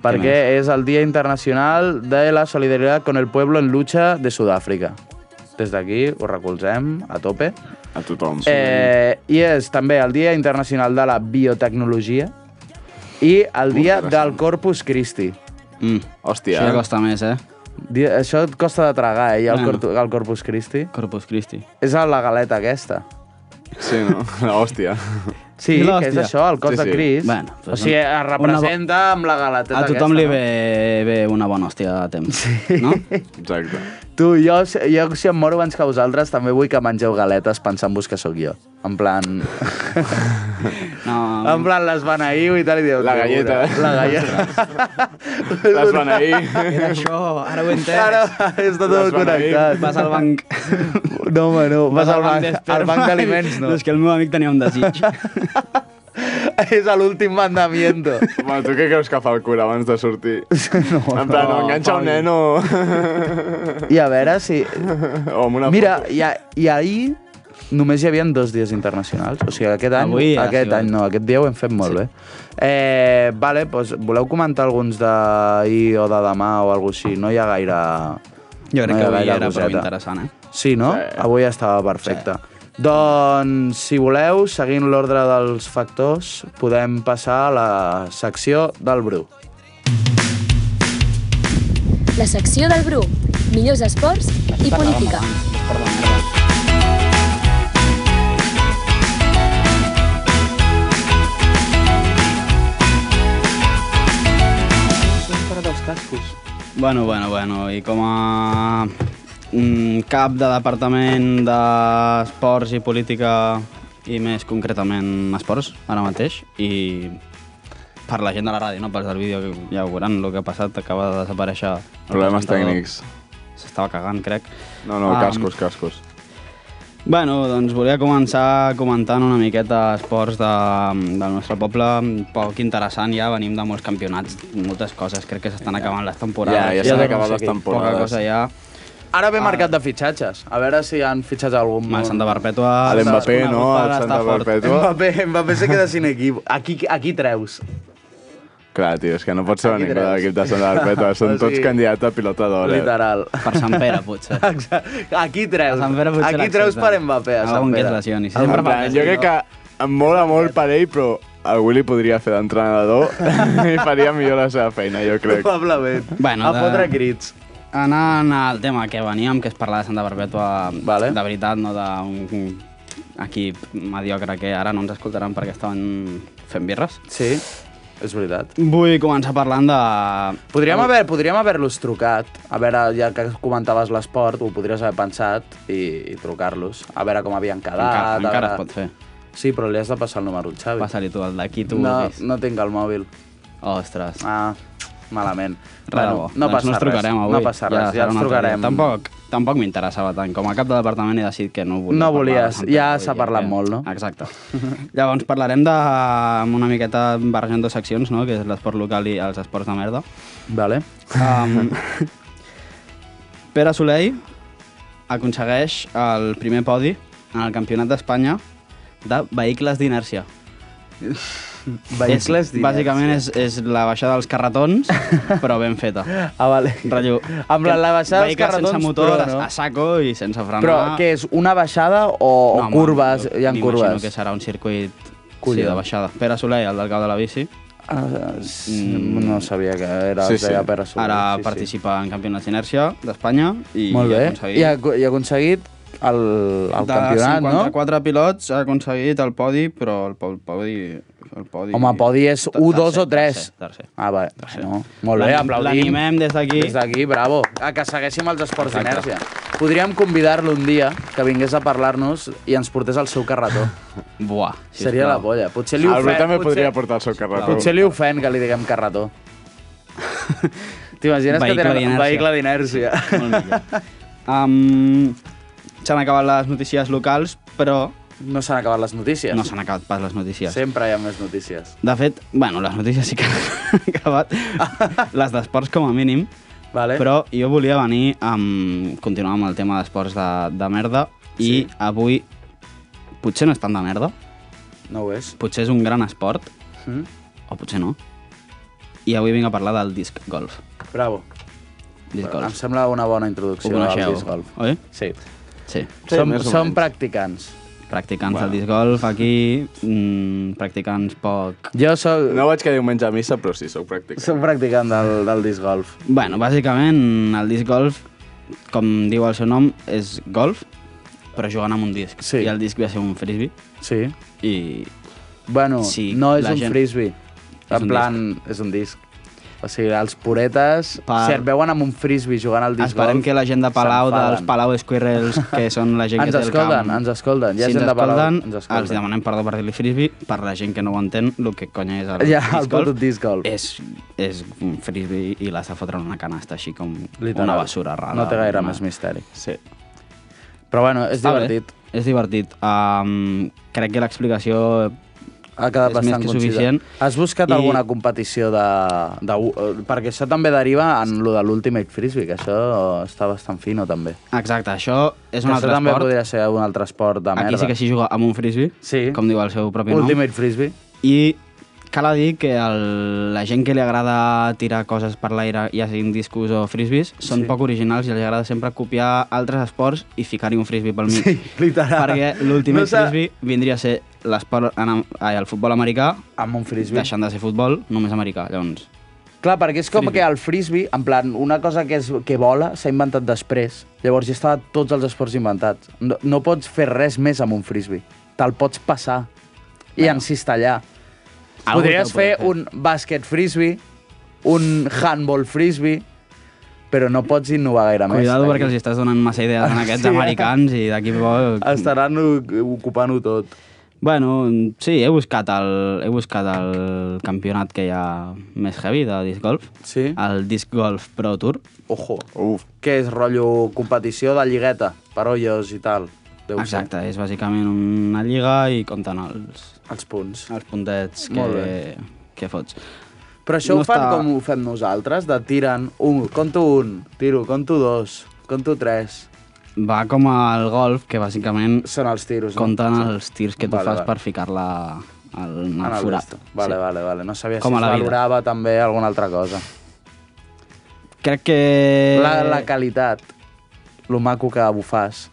C: Perquè és el Dia Internacional de la Solidaritat con el Pueblo en Lucha de Sud-àfrica. Des d'aquí ho recolzem a tope.
H: A tothom.
C: Eh, I és també el Dia Internacional de la Biotecnologia i el Dia del Corpus Christi.
D: Mm.
H: Hòstia.
D: Això ja costa més, eh?
C: Di- Això et costa de tragar, eh, ja el,
D: Bueno.
C: cor el Corpus Christi.
D: Corpus Christi.
C: És a la galeta aquesta.
H: Sí, no? La hòstia.
C: Sí,
D: I l'hòstia.
C: que és això, el cos
H: Sí,
C: sí, sí.
H: sí.
C: de Cris.
D: Bueno,
C: o
D: pues
C: sigui,
D: una-
C: es representa amb la galeteta
D: A tothom
C: aquesta,
D: li
C: no?
D: ve, ve una bona hòstia de temps, sí. no?
H: Exacte.
C: Tu, jo, si- jo si em moro abans que vosaltres, també vull que mengeu galetes pensant-vos que sóc jo. En plan...
D: No,
C: en plan, les beneïu i tal, i dieu...
H: La galleta.
C: "Tio, La galleta.
H: Les van ahir.
D: era això, ara ho he entès.
C: Ara, està tot
H: Les beneïu.
C: connectat.
D: Vas al banc.
C: No, home, no. Vas, al banc,
D: d'Esperma.
C: al banc d'aliments, no.
D: És que el meu amic tenia un desig.
C: és l'últim mandamiento.
H: Bueno, tu què creus que fa el cura abans de sortir?
C: No,
H: En plan, o enganxa un nen o...
C: I a veure si...
H: o amb una
C: Mira, i, a, i ahir només hi havia dos dies internacionals. O sigui, aquest any,
D: Avui eh, ha
C: aquest
D: sigut.
C: any no, aquest dia ho hem fet molt sí. bé. Eh, vale, doncs, voleu comentar alguns d'ahir o de demà o alguna així? No hi ha gaire...
D: Jo crec
C: no hi
D: que
C: ha
D: avui
C: gaire
D: era prou
C: coseta.
D: interessant, eh?
C: Sí, no? Sí.
H: Sí.
C: Avui estava perfecte. Sí. Doncs, si voleu, seguint l'ordre dels factors, podem passar a la secció del Bru.
I: La secció del Bru. Millors esports i política.
D: Bueno, bueno, bueno, i com a mm, cap de departament d'esports i política i més concretament esports, ara mateix, i per la gent de la ràdio, no pels del vídeo, que ja ho veuran, el que ha passat acaba de desaparèixer. el
H: Problemes
D: presentador.
H: tècnics.
D: S'estava cagant, crec.
H: No, no,
D: Ah,
H: cascos, cascos.
D: Bueno, doncs volia començar comentant una miqueta esports de, del nostre poble, poc interessant ja, venim de molts campionats, moltes coses, crec que s'estan acabant les temporades.
H: Ja, ja s'han acabat les temporades.
D: Poca cosa ja,
C: Ara
D: Ah.
C: ve mercat de fitxatges. A veure si han fitxat algun...
D: amb el Santa Perpètua...
H: A l'Mbappé,
D: desconegut
H: no?
D: per
H: Al Santa
D: Stafford.
H: Perpètua.
C: Mbappé, Mbappé se queda sin equip. Aquí, aquí treus.
H: Clar, tio, és que no pot ser
C: Aquí
H: ningú de
C: tres.
H: l'equip de Santa Perpètua.
C: O
H: Són tots
C: sigui,
H: candidats a pilota d'or, eh?
C: Literal.
D: Per Sant Pere, potser.
C: Exacte. Aquí treus.
D: Sant Pere potser
C: Aquí treus
D: l'accepten.
C: per Mbappé, a Sant
D: Algun que
C: Pere.
D: es lesioni, sí.
H: En
D: Sempre
H: plan,
D: parles,
H: jo crec que em mola molt per ell, però algú li podria fer d'entrenador i faria millor la seva feina, jo crec.
C: Probablement.
D: Bueno,
C: a
D: de-
C: fotre crits.
D: Anant al tema que veníem, que és parlar de Santa Perpètua
C: Vale.
D: de veritat, no d'un equip mediocre que ara no ens escoltaran perquè estaven fent birres.
C: Sí, és veritat.
D: Vull començar parlant de...
C: Podríem haver-los podríem haver trucat, a veure, ja que comentaves l'esport, ho podries haver pensat i, i trucar-los, a veure com havien quedat...
D: Encara,
C: a veure-
D: encara es pot fer.
C: Sí, però li has de passar el número al Xavi.
D: Passa-li tu el d'aquí, tu
C: no,
D: vulguis.
C: no tinc el mòbil.
D: Ostres.
C: Ah, malament.
D: Re de bo.
C: no
D: doncs
C: passa
D: no ens trucarem
C: res.
D: avui.
C: No passa res, ja,
D: serà un
C: ens
D: altre
C: trucarem.
D: dia. Tampoc, tampoc m'interessava tant. Com a cap de departament he decidit que no volia
C: No
D: parlar
C: volies,
D: de Sant
C: ja
D: Pere,
C: s'ha
D: vull dir
C: parlat
D: que-
C: molt, no?
D: Exacte. Llavors parlarem de, amb una miqueta barrejant dues seccions, no? que és l'esport local i els esports de merda.
C: Vale.
D: Um, Pere Soleil aconsegueix el primer podi en el Campionat d'Espanya de vehicles d'inèrcia.
C: Vehicles
D: És- Bàsicament és, és la baixada dels carretons, però ben feta.
C: Ah, vale.
D: Rotllo,
C: Amb la, la baixada dels
D: vehicle
C: carretons,
D: sense motor,
C: però, no?
D: a saco i sense frenar.
C: Però què és, una baixada o, o
D: home,
C: curves?
D: jo
C: Hi ha
D: M'imagino
C: curves?
D: que serà un circuit sí,
C: Collons.
D: de baixada. Pere Soler, el del cau de la bici,
C: Ah, sí, no sabia que era
H: Sí,
C: sí, sí.
H: sí.
C: Pere Soler.
D: ara
C: sí,
D: participa en Campionats d'Inèrcia d'Espanya i
C: Sí. Molt bé.
D: ha
C: I ha, aco- i ha aconseguit el, el campionat,
D: de
C: no?
D: 54 pilots ha aconseguit el podi, però el, po- el podi... El podi
C: Home, podi és
D: Ter-
C: 1, 2 o
D: tercer,
C: 3.
D: Tercer, tercer.
C: Ah, va, no. Molt bé,
D: L'anim-
C: aplaudim.
D: L'animem des d'aquí.
C: Des d'aquí, bravo. A que seguéssim els esports
D: Exacte.
C: d'inèrcia. Podríem convidar-lo un dia que vingués a parlar-nos i ens portés el seu carretó.
D: Buah, sisplau.
C: Seria la polla. Potser li
H: El Bru
C: ofèn,
H: també
C: potser,
H: podria portar el seu carretó.
C: potser li ofèn que li diguem carretó. T'imagines que
D: Vehicle
C: tenen un
D: d'inèrcia.
C: vehicle d'inèrcia?
D: Molt millor. Um, s'han acabat les notícies locals, però
C: No s'han acabat les notícies.
D: no s'han acabat pas les notícies.
C: Sempre hi ha més notícies.
D: De fet, bueno, les notícies sí que han acabat, les d'esports com a mínim,
C: Vale.
D: però jo volia venir amb... continuar amb el tema d'esports de, de merda i
C: Sí.
D: avui potser no és tant de merda,
C: No ho és.
D: potser és un gran esport,
C: Mm?
D: o potser no, i avui vinc a parlar del disc golf.
C: Bravo.
D: Disc
C: Em
D: golf.
C: sembla una bona
D: Ho
C: introducció
D: coneixeu,
C: al disc golf.
D: oi?
C: Sí.
D: Sí.
H: Sí,
C: som,
H: més o
C: som
H: menys.
C: practicants.
D: Practicants bueno. del disc golf aquí, mm, practicants poc...
C: Jo sóc...
H: No vaig que diumenge a missa, però sí, sóc pràctic.
C: Soc practicant del, del disc golf.
D: Bueno, bàsicament el disc golf, com diu el seu nom, és golf, però jugant amb un disc.
C: Sí.
D: I el disc ve a ser un frisbee
C: Sí.
D: i
C: Bueno,
D: Sí,
C: sí, no és
D: la
C: un
D: gent-
C: frisbee.
D: És
C: En
D: un
C: plan, és un disc. O sigui, els puretes,
D: Per-
C: per... si et veuen amb un frisbee jugant al disc
D: esperem
C: golf,
D: que la gent de Palau, dels
C: s'enfaden.
D: Palau Squirrels, que són la gent
C: Ens
D: que té el
C: escolten,
D: camp...
C: ens escolten. Hi ha
D: si
C: gent
D: ens
C: de Palau,
D: escolten,
C: ens escolten.
D: Els demanem perdó per dir-li frisbee, per la gent que no ho entén, el que conya és el
C: Ja,
D: disc
C: el
D: golf.
C: puto disc golf.
D: És, és un frisbee i l'has de fotre en una canasta, així com
C: Literal.
D: una basura rara.
C: No té gaire
D: Una-
C: més misteri.
D: Sí.
C: Però bueno, és
D: Està bé.
C: divertit.
D: És divertit. Um, crec que l'explicació...
C: Ha quedat
D: És
C: bastant
D: més que
C: concisa.
D: suficient.
C: Has buscat
D: I-
C: I... alguna competició de, de... eh, Perquè això també deriva en lo de l'Ultimate Frisbee, que això està bastant fino, també.
D: Exacte, això és un
C: això
D: altre
C: també
D: esport.
C: podria ser un altre esport de merda.
D: Aquí sí que s'hi juga amb un frisbee,
C: Sí.
D: com diu el seu propi
C: Ultimate Frisbee.
D: nom. I cal a dir que el, la gent que li agrada tirar coses per l'aire, ja siguin discos o frisbees, són
C: Sí.
D: poc originals i els agrada sempre copiar altres esports i ficar-hi un frisbee pel mig.
C: Sí, literal.
D: Perquè l'últim
C: No
D: no
C: s'ha-
D: frisbee vindria a ser l'esport en, ai, el futbol americà,
C: Amb un frisbee.
D: deixant de ser futbol, només americà, llavors.
C: Clar, perquè és com que el frisbee, en plan, una cosa que, és, que vola s'ha inventat després. Llavors ja estava tots els esports inventats. No, no pots fer res més amb un frisbee. Te'l pots passar i encistellar.
D: Algú
C: Podries
D: que ho
C: fer,
D: podria fer.
C: un bàsquet frisbee, un handball frisbee, però no pots innovar gaire més.
D: Cuidado perquè els
C: Aquí.
D: estàs donant massa idees a aquests
C: Sí. eh?
D: americans i d'aquí a poc...
C: Estaran o- ocupant-ho tot.
D: Bueno, sí, he buscat el, he buscat el campionat que hi ha més heavy de disc golf.
C: Sí.
D: El Disc Golf Pro Tour.
C: Ojo.
H: Uf,
C: Què és, rotllo competició de lligueta, per olles i tal? Deu ser.
D: Exacte, és bàsicament una lliga i compten els,
C: Els punts.
D: els puntets
C: Molt
D: que,
C: bé.
D: que fots.
C: Però això
D: No
C: ho fan
D: està-
C: com ho fem nosaltres, de tiren un, conto un, tiro, conto dos, conto tres.
D: Va com el golf, que bàsicament
C: Són els tiros,
D: compten
C: no?
D: els tirs que tu
C: Vale,
D: fas
C: vale.
D: per ficar-la al,
C: En
D: al
C: el
D: forat.
C: resto. Vale, vale, vale. No sabia
D: Com
C: si
D: a
C: es
D: la vida.
C: valorava també alguna altra cosa.
D: Crec que... Eh.
C: La, la qualitat, lo maco que ho fas.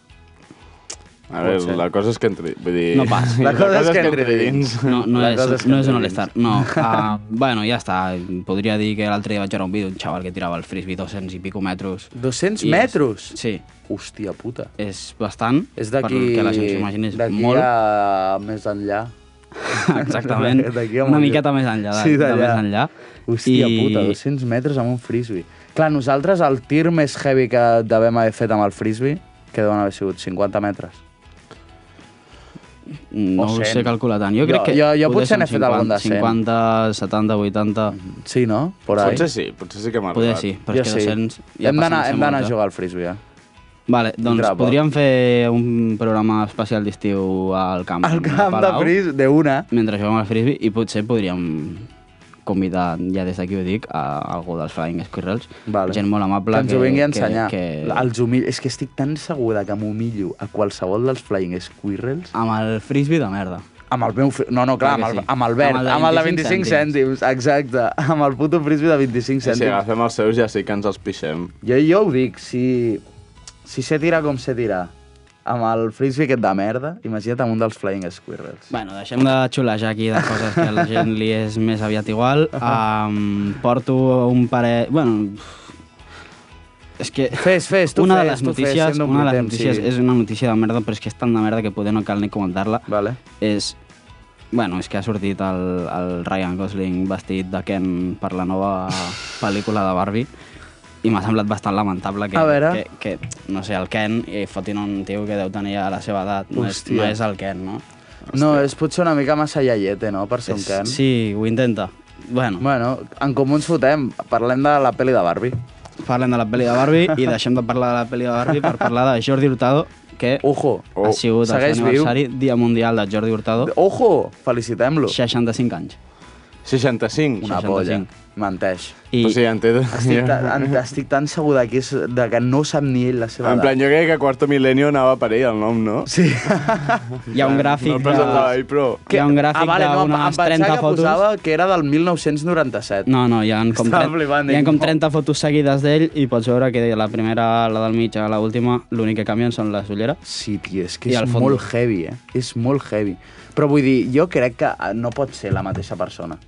H: a veure,
C: Potser.
H: la cosa és que entri... Vull dir...
D: No pas.
C: La cosa és que entri dins.
D: No, no,
C: La
D: és,
C: cosa és que
D: no és un
C: entri
D: All-Star. No, uh, bueno, ja està. Podria dir que l'altre dia vaig veure un vídeo d'un xaval que tirava el frisbee 200 i pico metres.
C: 200
D: I és-
C: metres?
D: Sí,
C: Hòstia puta.
D: és bastant.
C: És d'aquí...
D: Perquè la gent s'ho imagina, és
C: d'aquí
D: molt.
C: a més enllà.
D: Exactament.
C: D'aquí a
D: Una
C: Montllor.
D: miqueta més enllà, de,
C: Sí,
D: de
C: d'allà.
D: més enllà.
C: Hòstia I... puta, 200 metres amb un frisbee. Clar, nosaltres el tir més heavy que devem haver fet amb el frisbee, que deuen haver sigut 50 metres.
D: No
C: o
D: ho sé
C: 100.
D: calcular tant. Jo,
C: Jo-
D: crec que
C: jo- jo potser
D: són
C: n'he fet algun de 100.
D: 50, 70, 80...
C: Sí, no? Por ahí.
H: Potser sí, potser sí que m'ha
D: Poder
H: arribat.
D: sí, però és que 200... ja
C: hem
D: passen
C: d'anar
D: a ser
C: hem d'anar a
D: molts, eh?
C: jugar al frisbee, eh?
D: Vale, doncs
C: Drapa.
D: podríem fer un programa especial d'estiu al camp.
C: Al
D: de
C: camp de
D: Palau.
C: frisbee, de una.
D: mentre juguem al frisbee i potser podríem convidar, ja des d'aquí ho dic, a algú dels Flying Squirrels,
C: Vale.
D: gent molt amable.
C: Que ens ho vingui a ensenyar.
D: Que, que...
C: Els humil... És que estic tan segura que m'humillo a qualsevol dels Flying Squirrels
D: Amb el frisbee de merda.
C: amb el meu... fri- No, no, clar,
D: Clar
C: amb
D: que
C: el,
D: sí.
C: amb el verd, amb el de 25 cèntims. Exacte, amb el puto frisbee de 25
H: Si
C: cèntims.
H: agafem els seus ja sí que ens els pixem.
C: Jo, jo ho dic, si, si se tira com se tira, amb el frisbee aquest de merda, imagina't amb un dels Flying Squirrels.
D: Bueno, deixem de xulejar aquí de coses que a la gent li és més aviat igual. Um, porto un parell... Bueno, és que...
C: Fes, fes, tu
D: una
C: fes,
D: de les
C: tu fes,
D: notícies,
C: sent un
D: una de les
C: potent,
D: notícies
C: sí.
D: és una notícia de merda, però és que és tan de merda que poder no cal ni comentar-la.
C: Vale.
D: És... Bueno, és que ha sortit el, el Ryan Gosling vestit de Ken per la nova pel·lícula de Barbie i m'ha semblat bastant lamentable que,
C: A veure.
D: que, que, no sé, el Ken i fotin un tio que deu tenir a la seva edat. No és,
C: Hòstia.
D: no és el Ken, no?
C: No, és potser una mica massa iaiete, no?, per ser un
D: És-
C: can.
D: Sí, ho intenta. Bueno,
C: Bueno, en comú ens fotem. Parlem de la pel·li de Barbie.
D: parlem de la pel·li de Barbie i deixem de parlar de la pel·li de Barbie per parlar de Jordi Hurtado, que
C: Ojo.
D: ha sigut el
C: Oh, segueix
D: seu
C: viu.
D: aniversari, Dia Mundial de Jordi Hurtado,
C: Ojo! Felicitem-lo.
D: 65 anys.
H: 65.
C: Una
D: 65.
C: polla. Menteix.
D: I,
H: O sigui, en té...
C: Estic, ta, en, estic tan segur de que, és, de que no sap ni ell la seva
H: En plan, jo crec que Quarto Milenio anava per ell, el nom, no?
C: Sí.
D: hi ha un gràfic
H: No el presentava ell, però...
D: Hi ha un gràfic
C: Ah, em
D: d'unes
C: pensava
D: 30
C: que
D: fotos.
C: posava que era del 1997.
D: No, no, hi ha com,
C: Estava
D: 30,
C: flipant,
D: hi ha
C: dic,
D: com
C: no.
D: 30 fotos seguides d'ell i pots veure que la primera, la del mig, la última, l'únic que canvien són les ulleres.
C: Sí, tio, és que
D: I
C: és
D: al fons.
C: molt heavy, eh? És molt heavy. Però vull dir, jo crec que eh, no pot ser la mateixa persona.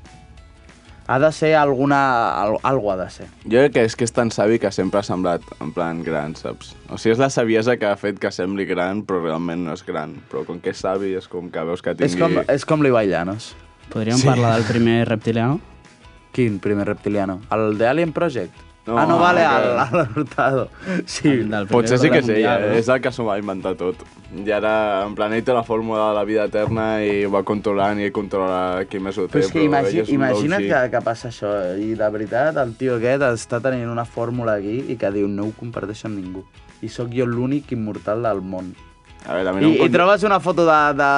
C: Ha de ser alguna... al- Algo ha de ser.
H: Jo crec que és que és tan savi que sempre ha semblat en plan gran, saps? O sigui, és la saviesa que ha fet que sembli gran, però realment no és gran. Però com que és savi, és com que veus que tingui...
C: És com, és com l'Ibai Llanos.
D: Podríem parlar del primer reptiliano?
C: Quin primer reptiliano? El de Alien Project?
H: No,
C: ah, no, vale,
H: que-
C: el, el Hurtado. Sí,
D: El del primer
H: Potser sí que és ella,
D: mundial, no?
H: eh? és el que s'ho va inventar tot. I ara, en plan, ell té la fórmula de la vida eterna i ho va controlant i controla qui més ho té,
C: Però és que imagi
H: ell és un
C: imagina't
H: low-key.
C: que, que passa això i de veritat el tio aquest està tenint una fórmula aquí i que diu no ho comparteixo amb ningú i sóc jo l'únic immortal del món.
H: A veure, a
C: I,
H: mi no em
C: I
H: conta-
C: trobes una foto de, de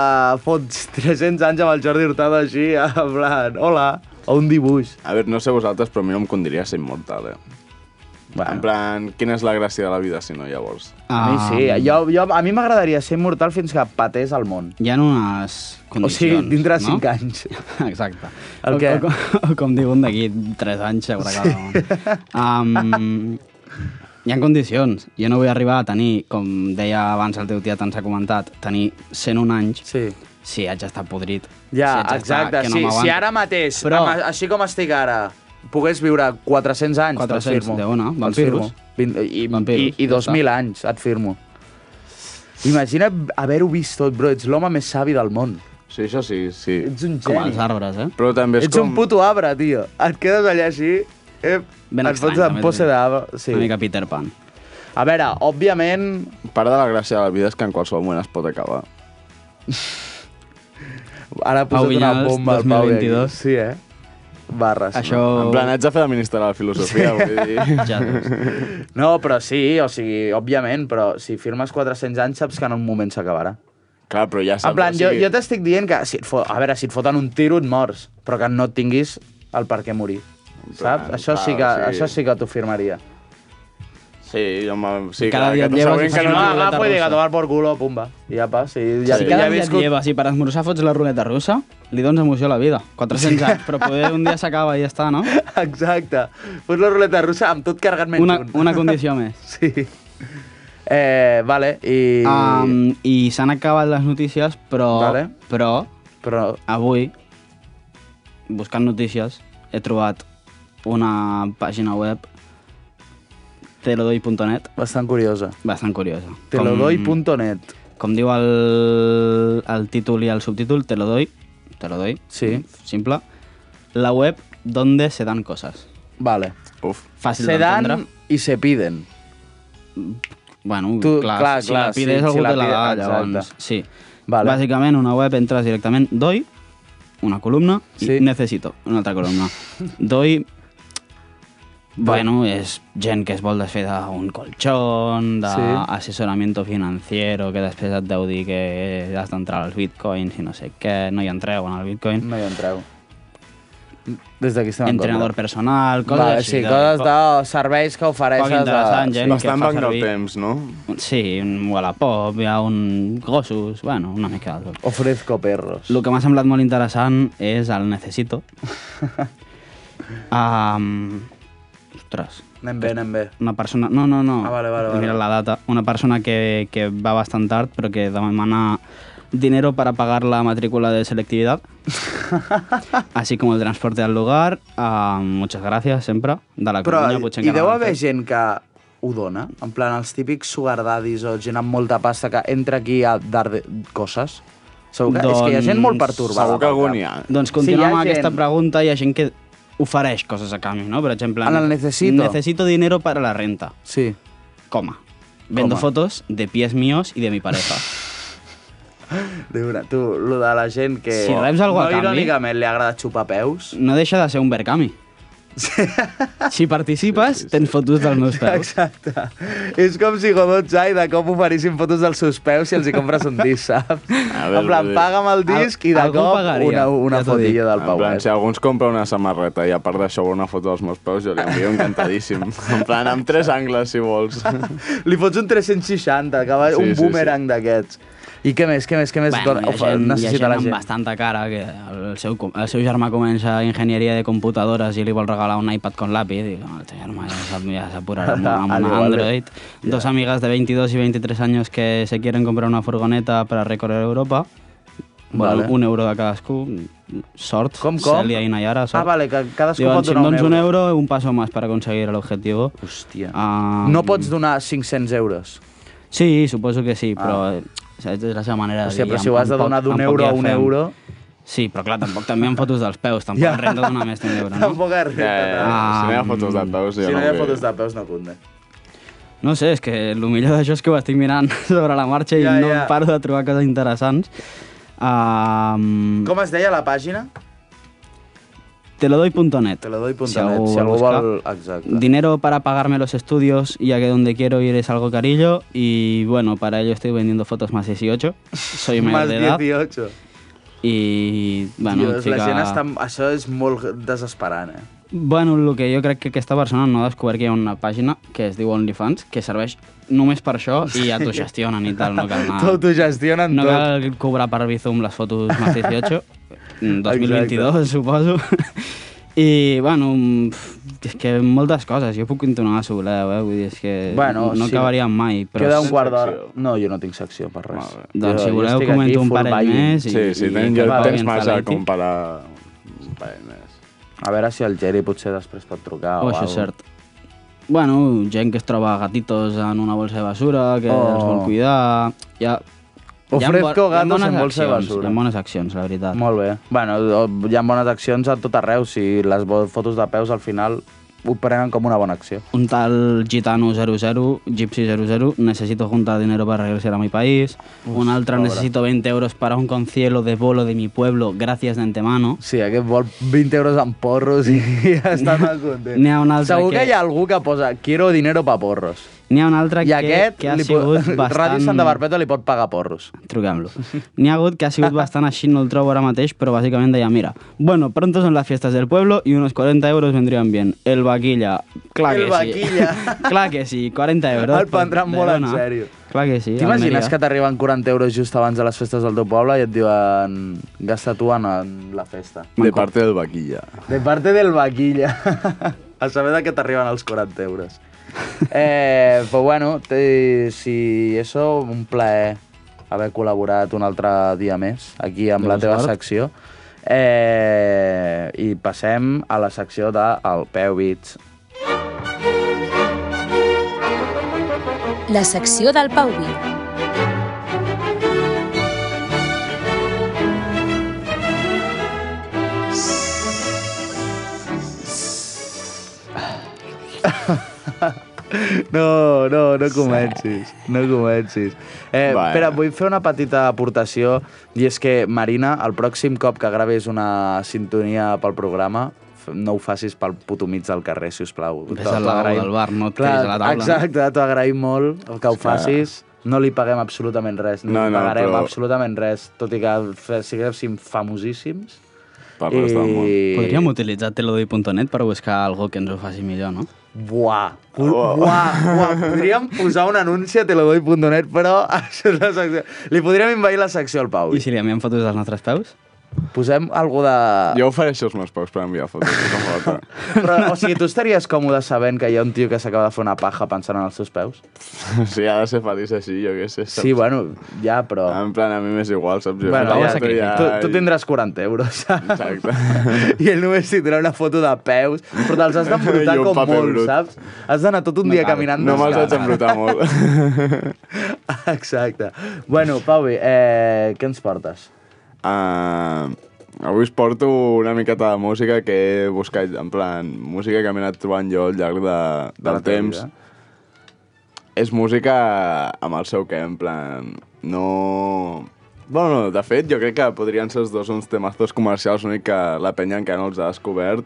C: fots 300 anys amb el Jordi Hurtado així, en plan, hola, o un dibuix.
H: A veure, no sé vosaltres, però a mi no em condiria ser immortal, eh? En
C: Bueno,
H: plan, quina és la gràcia de la vida, si no, llavors?
C: a mi sí,
H: um,
D: Ah,
C: jo, jo, a mi m'agradaria ser immortal fins que patés el món.
D: Hi ha unes
C: O
D: condicions,
C: sigui, dintre de
D: no?
C: 5 anys.
D: Exacte.
C: El
D: o,
C: què?
D: O, com- o, com diu un d'aquí, 3 anys segur que acaben. Um, hi ha condicions. Jo no vull arribar a tenir, com deia abans el teu tiet ens ha comentat, tenir 101 anys
C: Sí.
D: si haig d'estar podrit.
C: Ja,
D: si haig d'estar
C: exacte.
D: que
C: No sí, si
D: m'aguanto.
C: ara mateix,
D: Però-
C: Però... amb, així com estic ara, pogués viure 400 anys,
D: 400
C: te'ls firmo.
D: de una,
C: Te'ls
D: vampiros.
C: firmo. Vint- I,
D: Vampiros,
C: i, i
D: ja
C: 2.000
D: està.
C: anys, et firmo. Imagina't haver-ho vist tot, bro. Ets l'home més savi del món.
H: Sí, això sí, sí.
C: Ets un
D: Com els
C: geni.
D: arbres, eh?
H: Però també és
C: Ets
H: com...
C: un puto arbre, tio. Et quedes allà així... Eh,
D: Ben
C: et
D: estrany,
C: fots en
D: també,
C: pose
D: també.
C: d'arbre. Sí.
D: Una mica Peter Pan.
C: A veure, òbviament...
H: Part de la gràcia de la vida és que en qualsevol moment es pot acabar.
C: Ara ha
D: Pau
C: posat una
D: Vinyals,
C: bomba al Pau.
D: 2022.
C: aquí. Sí, eh? Barres.
D: Això...
H: En plan, haig de fer de ministre de la filosofia, sí. vull dir...
D: Ja, doncs.
C: No, però sí, o sigui, òbviament, però si firmes 400 anys saps que en un moment s'acabarà.
H: Clar, però ja saps...
C: En plan,
H: o
C: jo,
H: sigui,
C: jo t'estic dient que, si et fo... a veure, si et foten un tiro et mors, però que no et tinguis el per què morir. Saps?
H: clar,
C: Això sí que,
H: clar, sí.
C: això sí que t'ho firmaria.
H: Sí, home, sí,
D: Cada
H: clar,
D: dia
H: que
D: et
H: t'ho
D: lleves
H: següent
D: i
H: que
D: fas
H: no...
C: No,
D: una
H: no,
D: ruleta
C: agafo i dic
D: russa.
C: ah, a tomar por culo, pumba. I apa, si ja,
D: Si
C: ja
D: cada
C: he
D: dia et
C: viscut...
D: lleves i per esmorzar fots la ruleta russa, li dones emoció a la vida. 400 anys, però poder un dia s'acaba i ja està, no?
C: Exacte. Fots la ruleta russa amb tot carregat menys
D: Una,
C: un.
D: una condició més.
C: Sí. Eh, vale, i...
D: Um, I s'han acabat les notícies, però,
C: Vale.
D: però
C: Però...
D: avui, buscant notícies, he trobat una pàgina web telodoy.net
C: Bastant curiosa.
D: bastant curiosa.
C: Telodoy.net.
D: Com diu el, el títol i el subtítol, te lo doy, te lo doy,
C: Sí.
D: simple, la web donde se dan cosas.
C: Vale.
H: Uf,
D: Fàcil
C: Se dan
D: d'entendre.
C: i se piden.
D: Bueno,
C: Tu-
D: clar,
C: clar,
D: si
C: clar,
D: la pides
C: sí,
D: algú
C: si la
D: te la
C: pide-
D: da,
C: exacte.
D: llavors. Sí.
C: Vale.
D: Bàsicament, una web entres directament, doy, una columna,
C: Sí.
D: i necessito, una altra columna. doy, bueno, és gent que es vol desfer d'un colxón, d'assessorament financiero, que després et deu dir que has d'entrar als bitcoins i no sé què, no hi entreu en el bitcoin.
C: No hi entreu. Des d'aquí estem en
D: Entrenador
C: contra.
D: personal, coses
C: Va,
D: així.
C: sí,
D: de-
C: coses de serveis que ofereixes.
D: Poc interessant, gent que
H: Bastant
D: fa
H: banc del
D: servir-
H: temps, no?
D: Sí, un Wallapop, hi ha un gossos, bueno, una mica de tot.
C: A... Ofrezco perros.
D: El que m'ha semblat molt interessant és el Necesito. um, ostres,
C: Anem bé, anem bé.
D: una persona... No, no, no.
C: Ah, vale, vale, vale.
D: Mira la data. Una persona que, que va bastant tard, però que demana dinero para pagar la matrícula de selectividad, así como el transporte al lugar. Ah, muchas gracias, sempre. De la
C: Però
D: Coruña, potser
C: hi
D: encara eh?
C: deu
D: no l'han
C: haver
D: fet.
C: gent que ho dona? En plan, els típics sugar daddies o gent amb molta pasta que entra aquí a dar de... coses? Segur que... Doncs... És que hi ha gent molt
D: Doncs,
C: pertorbada. eh?
H: Segur que
C: pel
H: algun
C: cap.
H: hi ha.
D: Doncs
C: Sí, hi
D: continuem
C: ha
D: amb aquesta
C: gent.
D: pregunta. Hi ha gent que ofereix coses a canvi, no? Per exemple...
C: Ara el necesito.
D: Necesito dinero para la renta.
C: Sí.
D: Coma. Vendo
C: Coma.
D: fotos de pies míos y de mi pareja.
C: Diure, tu, lo de la gent que...
D: Si reps algú
C: no
D: a canvi-
C: irònicament li agrada xupar peus.
D: No deixa de ser un Berkami. Si participes, tens fotos dels meus peus.
C: Exacte. És com si Godot Jai de cop oferissin fotos dels seus peus si els hi compres un disc, saps?
H: A veure,
C: en plan,
H: vull dir-
C: paga'm el disc i de
D: Algú
C: cop
D: pagaria,
C: una, una
D: ja t'ho dic.
C: fotilla del eh?
H: En plan,
C: Pauet.
H: si algú ens compra una samarreta i a part d'això vol una foto dels meus peus, jo li envio encantadíssim. Eh, En plan, amb tres angles, si vols.
C: Li fots un 360, que va, sí,
H: Sí,
C: un
H: sí,
C: boomerang sí, sí. d'aquests. I què més, què més, què més
D: Bueno, hi ha
C: Ofa,
D: gent, hi ha gent
C: necessita la
D: amb
C: gent?
D: bastanta cara que el seu, com- el seu germà comença enginyeria de computadores i li vol regalar un iPad con l'API. Dic, "No, el teu germà ja s'ha ja s'ha apurat amb, amb
C: Ale,
D: un
C: vale.
D: Android.
C: eh.
D: Dos amigas de 22 y 23 años que se quieren comprar una furgoneta para recorrer Europa. Bueno,
C: Vale.
D: un euro de cadascú. Sort,
C: Com, com?
D: Celia y Nayara. Sort.
C: Ah, vale, que cadascú
D: Diuen,
C: pot
D: si em
C: donar un
D: dones
C: euro".
D: un euro, un paso más para conseguir el objetivo.
C: Hòstia.
D: Ah,
C: no pots donar 500 euros.
D: Sí, suposo que sí, però... eh, Saps? És la seva manera de
C: Hòstia,
D: dir.
C: però Ah. si
D: amb-
C: ho has de
D: amb poc-
C: donar d'un
D: amb poc
C: euro
D: ja
C: a un
D: fem.
C: euro...
D: Sí, però clar, tampoc també amb fotos dels peus, tampoc
C: Ja.
D: yeah. renta donar més d'un euro, no?
C: Tampoc és
H: Ja, ja, ja.
C: res.
H: Si no hi ha
D: Ah,
H: fotos de peus, jo
C: Si no hi ha
H: vull.
C: fotos de peus, no compta.
D: No sé, és que el millor d'això és que ho estic mirant sobre la marxa i
C: Ja,
D: no em
C: ja.
D: paro de trobar coses interessants. Um,
C: Com es deia la pàgina?
D: Telodoy.net
C: Te lo doy
D: Si algú,
C: Si algú
D: busca.
C: vol... Exacte.
D: Dinero para pagarme los estudios, ya que donde quiero ir es algo carillo. Y bueno, para ello estoy vendiendo fotos más 18. Soy mayor
C: Más
D: de edad.
C: 18.
D: I, bueno,
C: Dios, la gent està... Això és molt desesperant, eh?
D: Bueno, el que jo crec que aquesta persona no ha descobert que hi ha una pàgina que es diu OnlyFans, que serveix només per això i ja t'ho gestionen i tal, no cal anar...
C: T'autogestionen
D: No
C: tot.
D: cal cobrar per Bizum les fotos más 18, mm, 2022, suposo. I, bueno, mm, pf, és que moltes coses, jo puc continuar si voleu, eh? vull dir, és que
C: Bueno,
D: no
C: sí.
D: acabaríem mai. Però
C: Queda un quart d'hora.
H: secció.
C: No, jo no tinc secció per res.
H: Vale.
D: Doncs
C: Jo-
D: si
C: jo
D: voleu
C: estic aquí
D: comento un
C: full
D: parell
C: buying.
D: més. I,
H: Sí, sí,
D: i
H: tens,
D: que
H: jo,
D: acabem
H: tens
D: en
H: massa a
D: Valenti.
H: comparar un parell més.
C: A veure si el Jerry potser després pot trucar o
D: Oh, això
C: alguna
D: és cert. Bueno, gent que es troba gatitos en una bolsa de basura, que
C: Oh.
D: els vol cuidar... Ja,
C: Ofrezco gatos en bolsa de
D: accions,
C: basura.
D: Hi ha bones accions, la veritat.
C: Molt bé. Bueno, o- hi ha bones accions a tot arreu. Si les bo- fotos de peus al final ho prenen com una bona acció.
D: Un tal Gitano 00, Gypsy 00, necesito juntar dinero para regresar a mi país. un altre,
C: pobre.
D: necesito 20 euros para un concierto de bolo de mi pueblo, gracias de antemano.
C: Sí, aquest vol 20 euros en porros i ja està molt content.
D: N'hi ha un altre
C: Segur que...
D: que-
C: hi ha algú que posa quiero dinero pa porros.
D: N'hi ha un altre
C: I
D: que,
C: aquest,
D: que ha
C: li
D: sigut bastant...
C: Ràdio Santa Barbeta li pot pagar porros.
D: Truquem-lo. N'hi ha hagut que ha sigut bastant així, no el trobo ara mateix, però bàsicament deia, mira, bueno, pronto son las fiestas del pueblo y unos 40 euros vendrían bien. El vaquilla, clar
C: El
D: que
C: vaquilla.
D: sí. clar que sí, 40 euros. pues,
C: El prendran
D: de
C: molt en
D: dona.
C: sèrio.
D: Clar que sí,
C: T'imagines
D: Almeria.
C: que t'arriben 40 euros just abans de les festes del teu poble i et diuen gasta tu en, en la festa.
H: De parte del vaquilla.
C: De parte del vaquilla. A saber de què t'arriben els 40 euros. Eh, però bueno, té, si això, un plaer haver col·laborat un altre dia més aquí amb
D: De
C: la
D: la
C: teva
D: sort.
C: secció. Eh, I passem a la secció de El Peu Bits.
I: La secció del Pauvi.
C: No, no, no comencis, no comencis. Eh,
H: Va.
C: Espera, vull fer una petita aportació, i és que, Marina, el pròxim cop que gravis una sintonia pel programa, f- no ho facis pel puto mig del carrer, si us plau.
D: Ves al lavabo del bar, no et
C: Clar,
D: quedis a la taula, no?
C: Exacte, t'ho agraïm molt que ho
H: que-
C: facis. No li paguem absolutament res, ni
H: No,
C: no,
H: no,
C: pagarem
H: però-
C: absolutament res, tot i que fe- siguéssim famosíssims.
H: Parles del món.
C: Eh,
D: Podríem utilitzar telodi.net per buscar algú que ens ho faci millor, no?
C: Buah, bu- buah, buah. Podríem posar un anunci a teledoy.net, però això és la secció. Li podríem invair la secció al Pau.
D: I si li enviem fotos dels nostres peus?
C: Posem algú de...
H: Jo ofereixo els meus pocs per enviar fotos. si fa falta.
C: Però, o sigui, tu estaries còmode sabent que hi ha un tio que s'acaba de fer una paja pensant en els seus peus?
H: sí, ha de ser feliç així, jo què sé. saps?
C: Sí, bueno, ja, però...
H: En plan, a mi m'és igual, saps? Jo
C: Bueno,
H: faig
C: ja,
H: foto
C: tu, tu tindràs 40 euros, saps?
H: Exacte.
C: I ell només s'hi tindrà una foto de peus, però te'ls has d'embrutar
H: I un
C: com
H: paper
C: molt,
H: brut.
C: saps? Has d'anar tot un no dia
H: cal.
C: caminant
H: No me'ls
C: descalç.
H: haig embrutar molt.
C: Exacte. Bueno, Pauvi, eh, què ens portes?
H: Uh, avui us porto una miqueta de música que he buscat, en plan, música que m'he anat trobant jo al llarg de, del
C: la teva
H: temps.
C: vida.
H: És música amb el seu què, en plan, no... Bueno, de fet, jo crec que podrien ser els dos uns temazos comercials, únic que la penya encara no els ha descobert.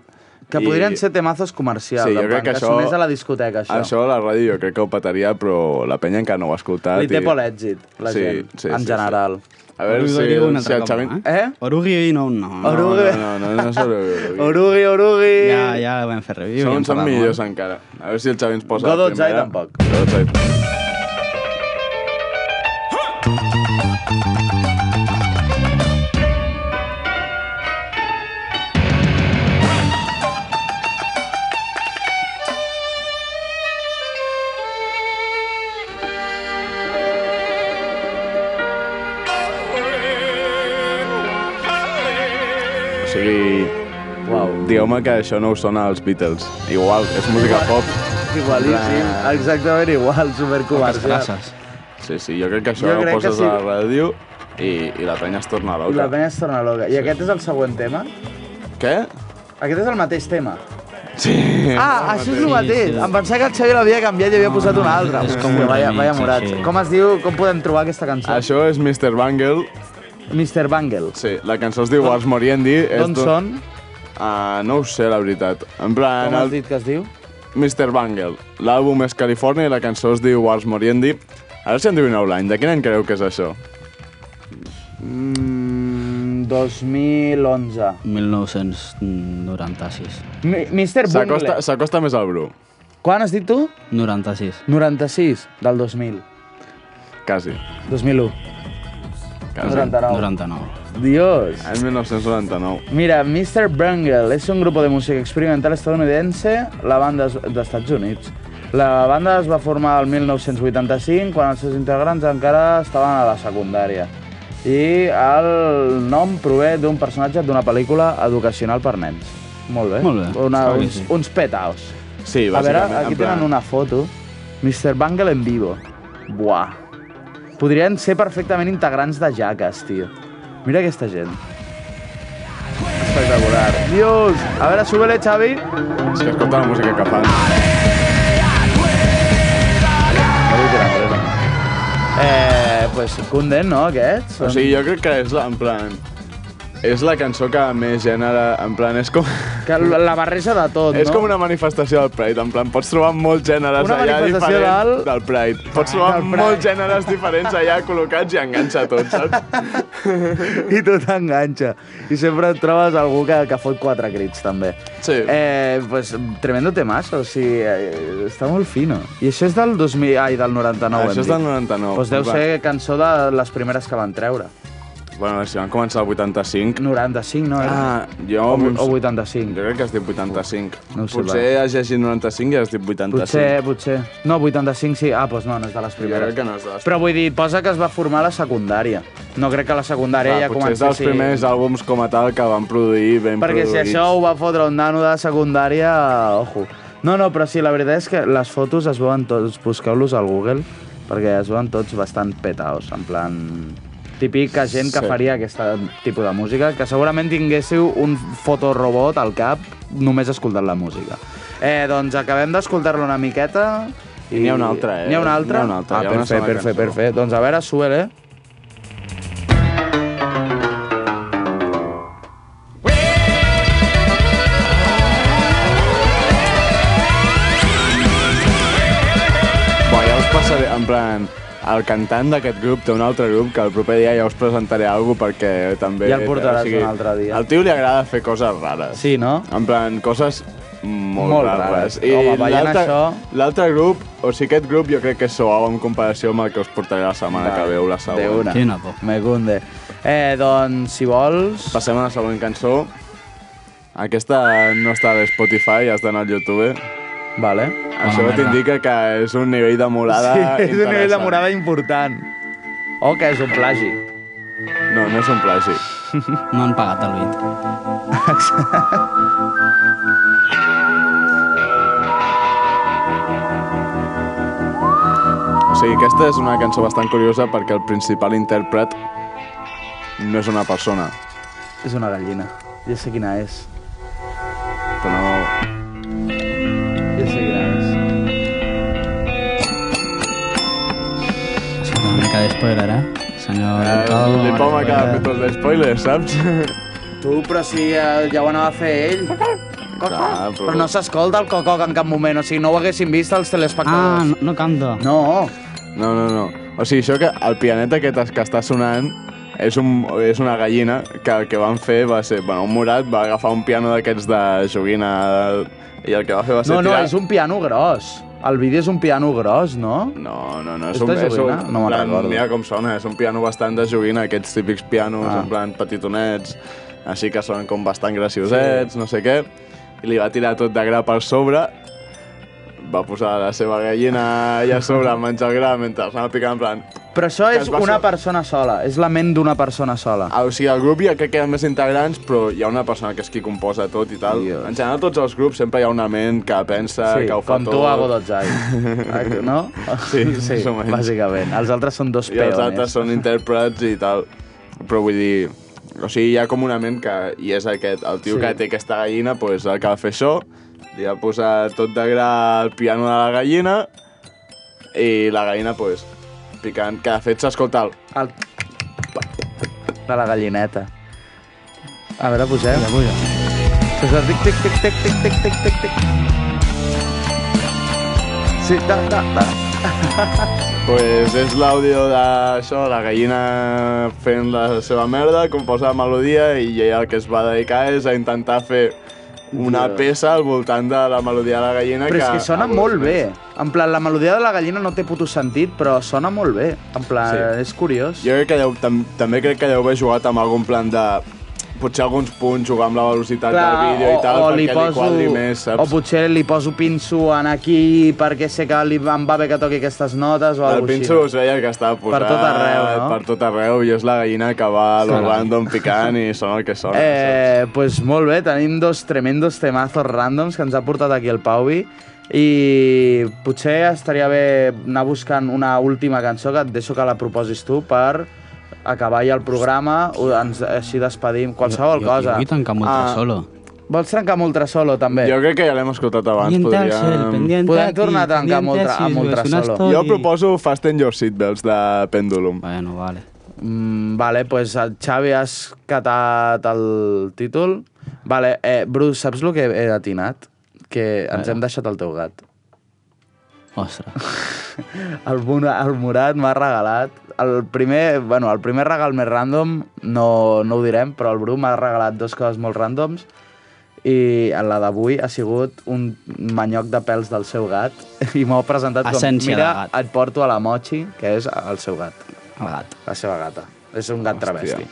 C: Que
H: I-
C: podrien ser temazos comercials,
H: Sí, jo
C: en plan,
H: crec que això-
C: sonés a la discoteca, això.
H: Això a la ràdio jo crec que ho petaria, però la penya encara no ho ha escoltat.
C: Li té por l'èxit, la
H: Sí,
C: gent,
H: sí,
C: en
H: sí,
C: general.
H: A veure si,
D: Orugueria un
H: si
D: altre
H: el
D: cop,
H: Xavi...
C: Eh?
D: Orugi no, no.
H: No,
D: no.
H: no,
C: Orugue.
H: no, no, no, és Orugue.
C: Orugui, orugui!
D: Ja, ja vam fer review.
H: Són,
D: ja en
H: són
D: parlàvem
H: millors
D: abans.
H: encara. A veure si el Xavi ¿eh? ens posa
C: Godot
H: la primera.
C: Zai tampoc.
H: Godot Zai. O sigui,
C: Uau.
H: digueu-me que això no us sona als Beatles. Igual, és música pop.
C: Igualíssim,
H: Clar.
C: exactament igual, supercomercial.
D: Gràcies.
H: Sí, sí, jo crec que això
C: Jo
H: ho
C: crec que
H: poses
C: sí.
H: a la ràdio i, i la penya es torna
C: I
H: loca.
C: la penya es torna loca. I aquest és el següent tema?
H: Què?
C: Aquest és el mateix tema.
H: Sí.
C: Ah, això és el mateix.
D: sí.
C: Em pensava que el Xavi l'havia canviat i havia posat un altre.
D: és com
C: Hòstia,
D: un
C: vaya,
D: remix,
C: vaya morat.
D: així.
C: Com es diu, com podem trobar aquesta cançó?
H: Això és Mr. Bangle.
C: Mr. Bangle.
H: Sí, la cançó es diu Wars Moriendi. és
C: D'on
H: d'un-
C: són?
H: Ah, no ho sé, la veritat. En plan,
C: Com has
H: el
C: dit que es diu?
H: Mr. Bangle. L'àlbum és Califòrnia i la cançó es diu Wars Moriendi. Ara si endevineu l'any, de quin any creu que és això?
C: Mm, 2011.
D: 1996.
C: Mi- Mr. Bungle.
H: S'acosta s'acosta més al Bru,
C: Quan has dit tu?
D: 96.
C: 96, del 2000.
H: quasi.
C: 2001.
H: quasi.
C: 99.
D: 99.
C: Dios.
H: En 1999.
C: Mira, Mr. Bungle es un grupo de música experimental estadounidense la banda es- d'Estats Units. La banda es va formar el 1985 quan els seus integrants encara estaven a la secundària. I el nom prové d'un personatge d'una pel·lícula educacional per nens. Molt bé.
D: Molt bé,
C: Una,
D: clar que
C: uns,
D: sí.
C: uns petaos.
H: Sí,
C: A veure,
H: bàsicament,
C: aquí
H: en plan-
C: tenen una foto. Mr. Bungle en vivo. Buah. Podrien ser perfectament integrants de jaques, tio. Mira aquesta gent. Espectacular. Dios! A veure, súbele, Xavi.
H: És que escolta la música que fan.
C: Eh, pues Kunden, no, aquests?
H: O sigui, jo crec que és la, en plan... És la cançó que més gènere... En plan, és com...
C: que la la barreja de tot,
H: És
C: no?
H: com una manifestació del Pride, en plan, pots trobar molts gèneres
C: Una
H: allà
C: manifestació
H: diferents
C: del-
H: del Pride. Pots trobar
C: Del Pride.
H: molts gèneres diferents allà col·locats i enganxa tot, saps?
C: I tu t'enganxa. I sempre et trobes algú que, que fot quatre crits, també.
H: Sí.
C: Eh, pues, tremendo temazo, o sigui, eh, està molt fino. I això és del 2000... Ai, del 99,
H: Això és del 99.
C: Doncs deu
H: Va.
C: ser cançó de les primeres que van treure.
H: Bueno, si van començar el 85...
C: 95, no? Era?
H: Ah, jo...
C: o,
H: em-
C: o
H: Jo
C: 85.
H: crec que has dit 85.
C: No ho sé,
H: Potser has llegit 95 i has dit 85.
C: Potser, potser. No, 85 sí. Ah, doncs no, no és de les primeres.
H: crec que no és de les-
C: Però vull dir, posa que es va formar a la secundària. No crec que a la secundària
H: Clar,
C: ja
H: potser és
C: comenci...
H: dels primers àlbums com a tal que van produir ben
C: Perquè si
H: produïts.
C: això ho va fotre un nano de secundària, ojo. No, no, però sí, la veritat és que les fotos es veuen tots, busqueu-los al Google, perquè es veuen tots bastant petaos, en plan... Típica gent que
H: Sí.
C: faria aquest tipus de música, que segurament tinguéssiu un fotorobot al cap només escoltant la música. Eh, doncs acabem d'escoltar-lo una miqueta...
H: I n'hi ha una altra, eh?
C: N'hi ha una altra?
H: N'hi ha una altra,
C: Ah,
H: hi ha una
C: perfecte,
H: sola
C: perfecte,
H: cançó.
C: perfecte. Doncs a veure, suel, eh?
H: Bé, ja us passaré, en plan... el cantant d'aquest grup té un altre grup que el proper dia ja us presentaré alguna cosa perquè també...
C: Ja el portaràs un altre dia.
H: Al tio li agrada fer coses rares.
C: Sí, no?
H: En plan, coses molt,
C: Molt rares.
H: rares.
C: Home, veient
H: l'altre-
C: això-
H: L'altre grup, o sigui, aquest grup jo crec que és suau en comparació amb el que us portaré la setmana que veu, la següent.
C: De una.
D: Quina por.
C: Me cunde. Eh, doncs, si vols...
H: Passem a la següent cançó. Aquesta no està a Spotify, has d'anar al YouTube.
C: Vale.
H: Això
D: merda.
H: t'indica que és un nivell de morada
C: sí, és un nivell de
H: interessant.
C: morada important. O Oh, que és un plagi.
H: No, no és un plagi.
D: No han pagat el bit.
H: O sigui, aquesta és una cançó bastant curiosa perquè el principal intèrpret no és una persona,
C: És una gallina. Ja sé quina és.
H: però no...
C: Ja sé quina és.
D: Una mica de spoiler, eh? Senyor... Ricardo,
H: Eh, Li
C: eh.
H: poma
D: Ricardo.
H: cada mitos de spoiler, saps?
C: Tu, però si ja, ja ho anava a fer ell.
H: Clar, però-
C: Però no s'escolta el cococ en cap moment, o sigui, no ho haguessin vist els
D: Ah,
C: telespectadors.
D: no, no canto.
C: no. no.
H: No, no, no. O sigui, això que el pianet aquest que està sonant és, un, és una gallina que el que van fer va ser... Bueno, un morat va agafar un piano d'aquests de joguina i el que va fer va ser
C: No, no,
H: tirar...
C: és un piano gros. El vídeo és un piano gros, no?
H: No, no, no, és
C: És
H: un,
C: de
H: és un,
C: joguina? No me'n
H: plan,
C: recordo.
H: Mira com sona, eh? és un piano bastant de joguina, aquests típics pianos,
C: Ah.
H: ah. en plan petitonets, així que sonen com bastant graciosets, sí. no sé què, i li va tirar tot de gra per sobre, va posar la seva gallina allà a sobre a menjar gra mentre anava picant, en plan...
C: Però això
H: Que es
C: és
H: va
C: una
H: so-
C: persona sola, és la ment d'una persona sola.
H: Ah, o sigui, el grup ja crec que hi ha més integrants, però hi ha una persona que és qui composa tot i tal.
C: Dios.
H: En general, tots els grups sempre hi ha una ment que pensa, que ho fa
C: com
H: tot.
C: tu a Godotzai. No?
H: Sí,
C: sí
H: més o menys.
C: bàsicament. Els altres són dos
H: I els
C: peones.
H: altres són intèrprets i tal. Però vull dir... O sigui, hi ha com una ment que... I és aquest, el tio
C: Sí.
H: sí. que té aquesta gallina, doncs el que va fer això, li va posar tot de gra al piano de la gallina i la gallina, doncs, picant... Que de fet s'escolta el...
C: El... De la gallineta. A veure, posem.
D: Ja puja.
C: Fes el tic, tic, tic, tic, tic, tic, tic, tic, tic. Sí, da, da, da.
H: Pues és l'àudio d'això, la gallina fent la seva merda, composa la melodia i ella el que es va dedicar és a intentar fer una
C: Dios.
H: peça al voltant de la melodia de la gallina
C: Però
H: que...
C: és que sona
H: a
C: molt
H: vos-
C: bé. En plan, la melodia de la gallina no té puto sentit, però sona molt bé. En plan,
H: Sí.
C: és curiós.
H: Jo crec que deu, tam també crec que deu haver jugat amb algun plan de... Potser alguns punts, jugar amb la velocitat del vídeo i tal, perquè li quadri més, saps?
C: o potser li poso pinso en aquí perquè sé que li em va bé que toqui aquestes notes o
H: el
C: alguna
H: pinxo us veia que estava posat...
C: tot arreu, no?
H: Per tot arreu, i és la gallina que va a lo random picant i sona el que sona, saps?
C: Eh, pues molt bé, tenim dos tremendos temazos randoms que ens ha portat aquí el Pauvi i potser estaria bé anar buscant una última cançó que et deixo que la proposis tu per acabar ja el programa, o ens, així despedim, qualsevol cosa.
D: Jo vull tancar molt
C: Ah,
D: ah. solo.
C: Vols trencar Moltresolo, també?
H: Jo crec que ja l'hem escoltat abans, podríem...
C: Podem tornar a trencar amb Ultra- amb Ultrasolo.
H: Jo proposo Fasten Your Seatbelts de Pendulum.
D: Bueno, vale.
C: Mm, vale, pues el Xavi has catat el títol. Vale, eh, Bru, saps el que he atinat? Que ens hem deixat el teu gat.
D: Ostres.
C: El, Mura- el Murat m'ha regalat... El primer, bueno, el primer regal més random, no, no ho direm, però el Bru m'ha regalat dues coses molt randoms i la d'avui ha sigut un manyoc de pèls del seu gat i m'ho ha presentat
D: Essència
C: com, mira,
D: de gat."
C: et porto a la Mochi, que és el seu gat,
D: Agat.
C: la seva gata. És un gat travesti.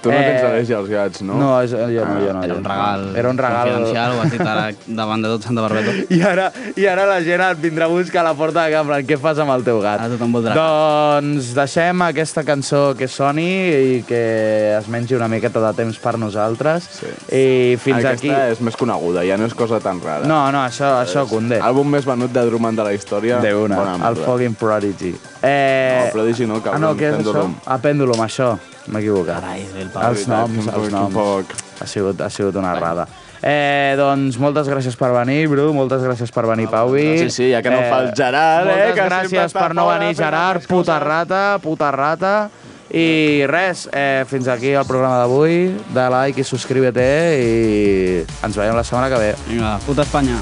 H: Tu no tens
C: Eh,
H: al·lèrgia als gats, no?
C: No, és, jo no, jo no.
D: Era
C: jo
D: un
C: no.
D: regal,
C: Era un regal...
D: confidencial, ho has dit ara davant de tot Santa Barbeto.
C: I ara, I ara la gent et vindrà a buscar a la porta de cambra. Què fas amb el teu gat?
D: Ara tothom voldrà.
C: Doncs deixem aquesta cançó que soni i que es mengi una miqueta de temps per nosaltres.
H: Sí.
C: I fins
H: Aquesta
C: aquí...
H: és més coneguda, ja no és cosa tan rara.
C: No, no, això, això condé.
H: Àlbum més venut de Drummond de la història.
C: De una,
H: Bona
C: el
H: merda.
C: fucking Prodigy. Eh...
H: No, Prodigy no,
C: Ah, no,
H: cabrón,
C: què és
H: Pendulum.
C: això? Ah, Pèndulum, això. M'he equivocat.
D: Carai, és el Pau.
C: els noms,
H: Veritat,
C: els
H: un
C: noms.
H: poc, un
C: Ha sigut, ha sigut una errada. Eh, doncs moltes gràcies per venir, Bru, moltes gràcies per venir, Pauvi.
H: Ah, Sí, sí, ja que no fa el Gerard,
C: moltes
H: eh, que sempre
C: gràcies
H: està
C: per no
H: fora
C: venir,
H: fent
C: Gerard,
H: altres
C: puta
H: coses.
C: rata, puta rata. I res, eh, fins aquí el programa d'avui. De like eh, i subscriu-te i ens veiem la setmana que ve.
D: Vinga, puta Espanya.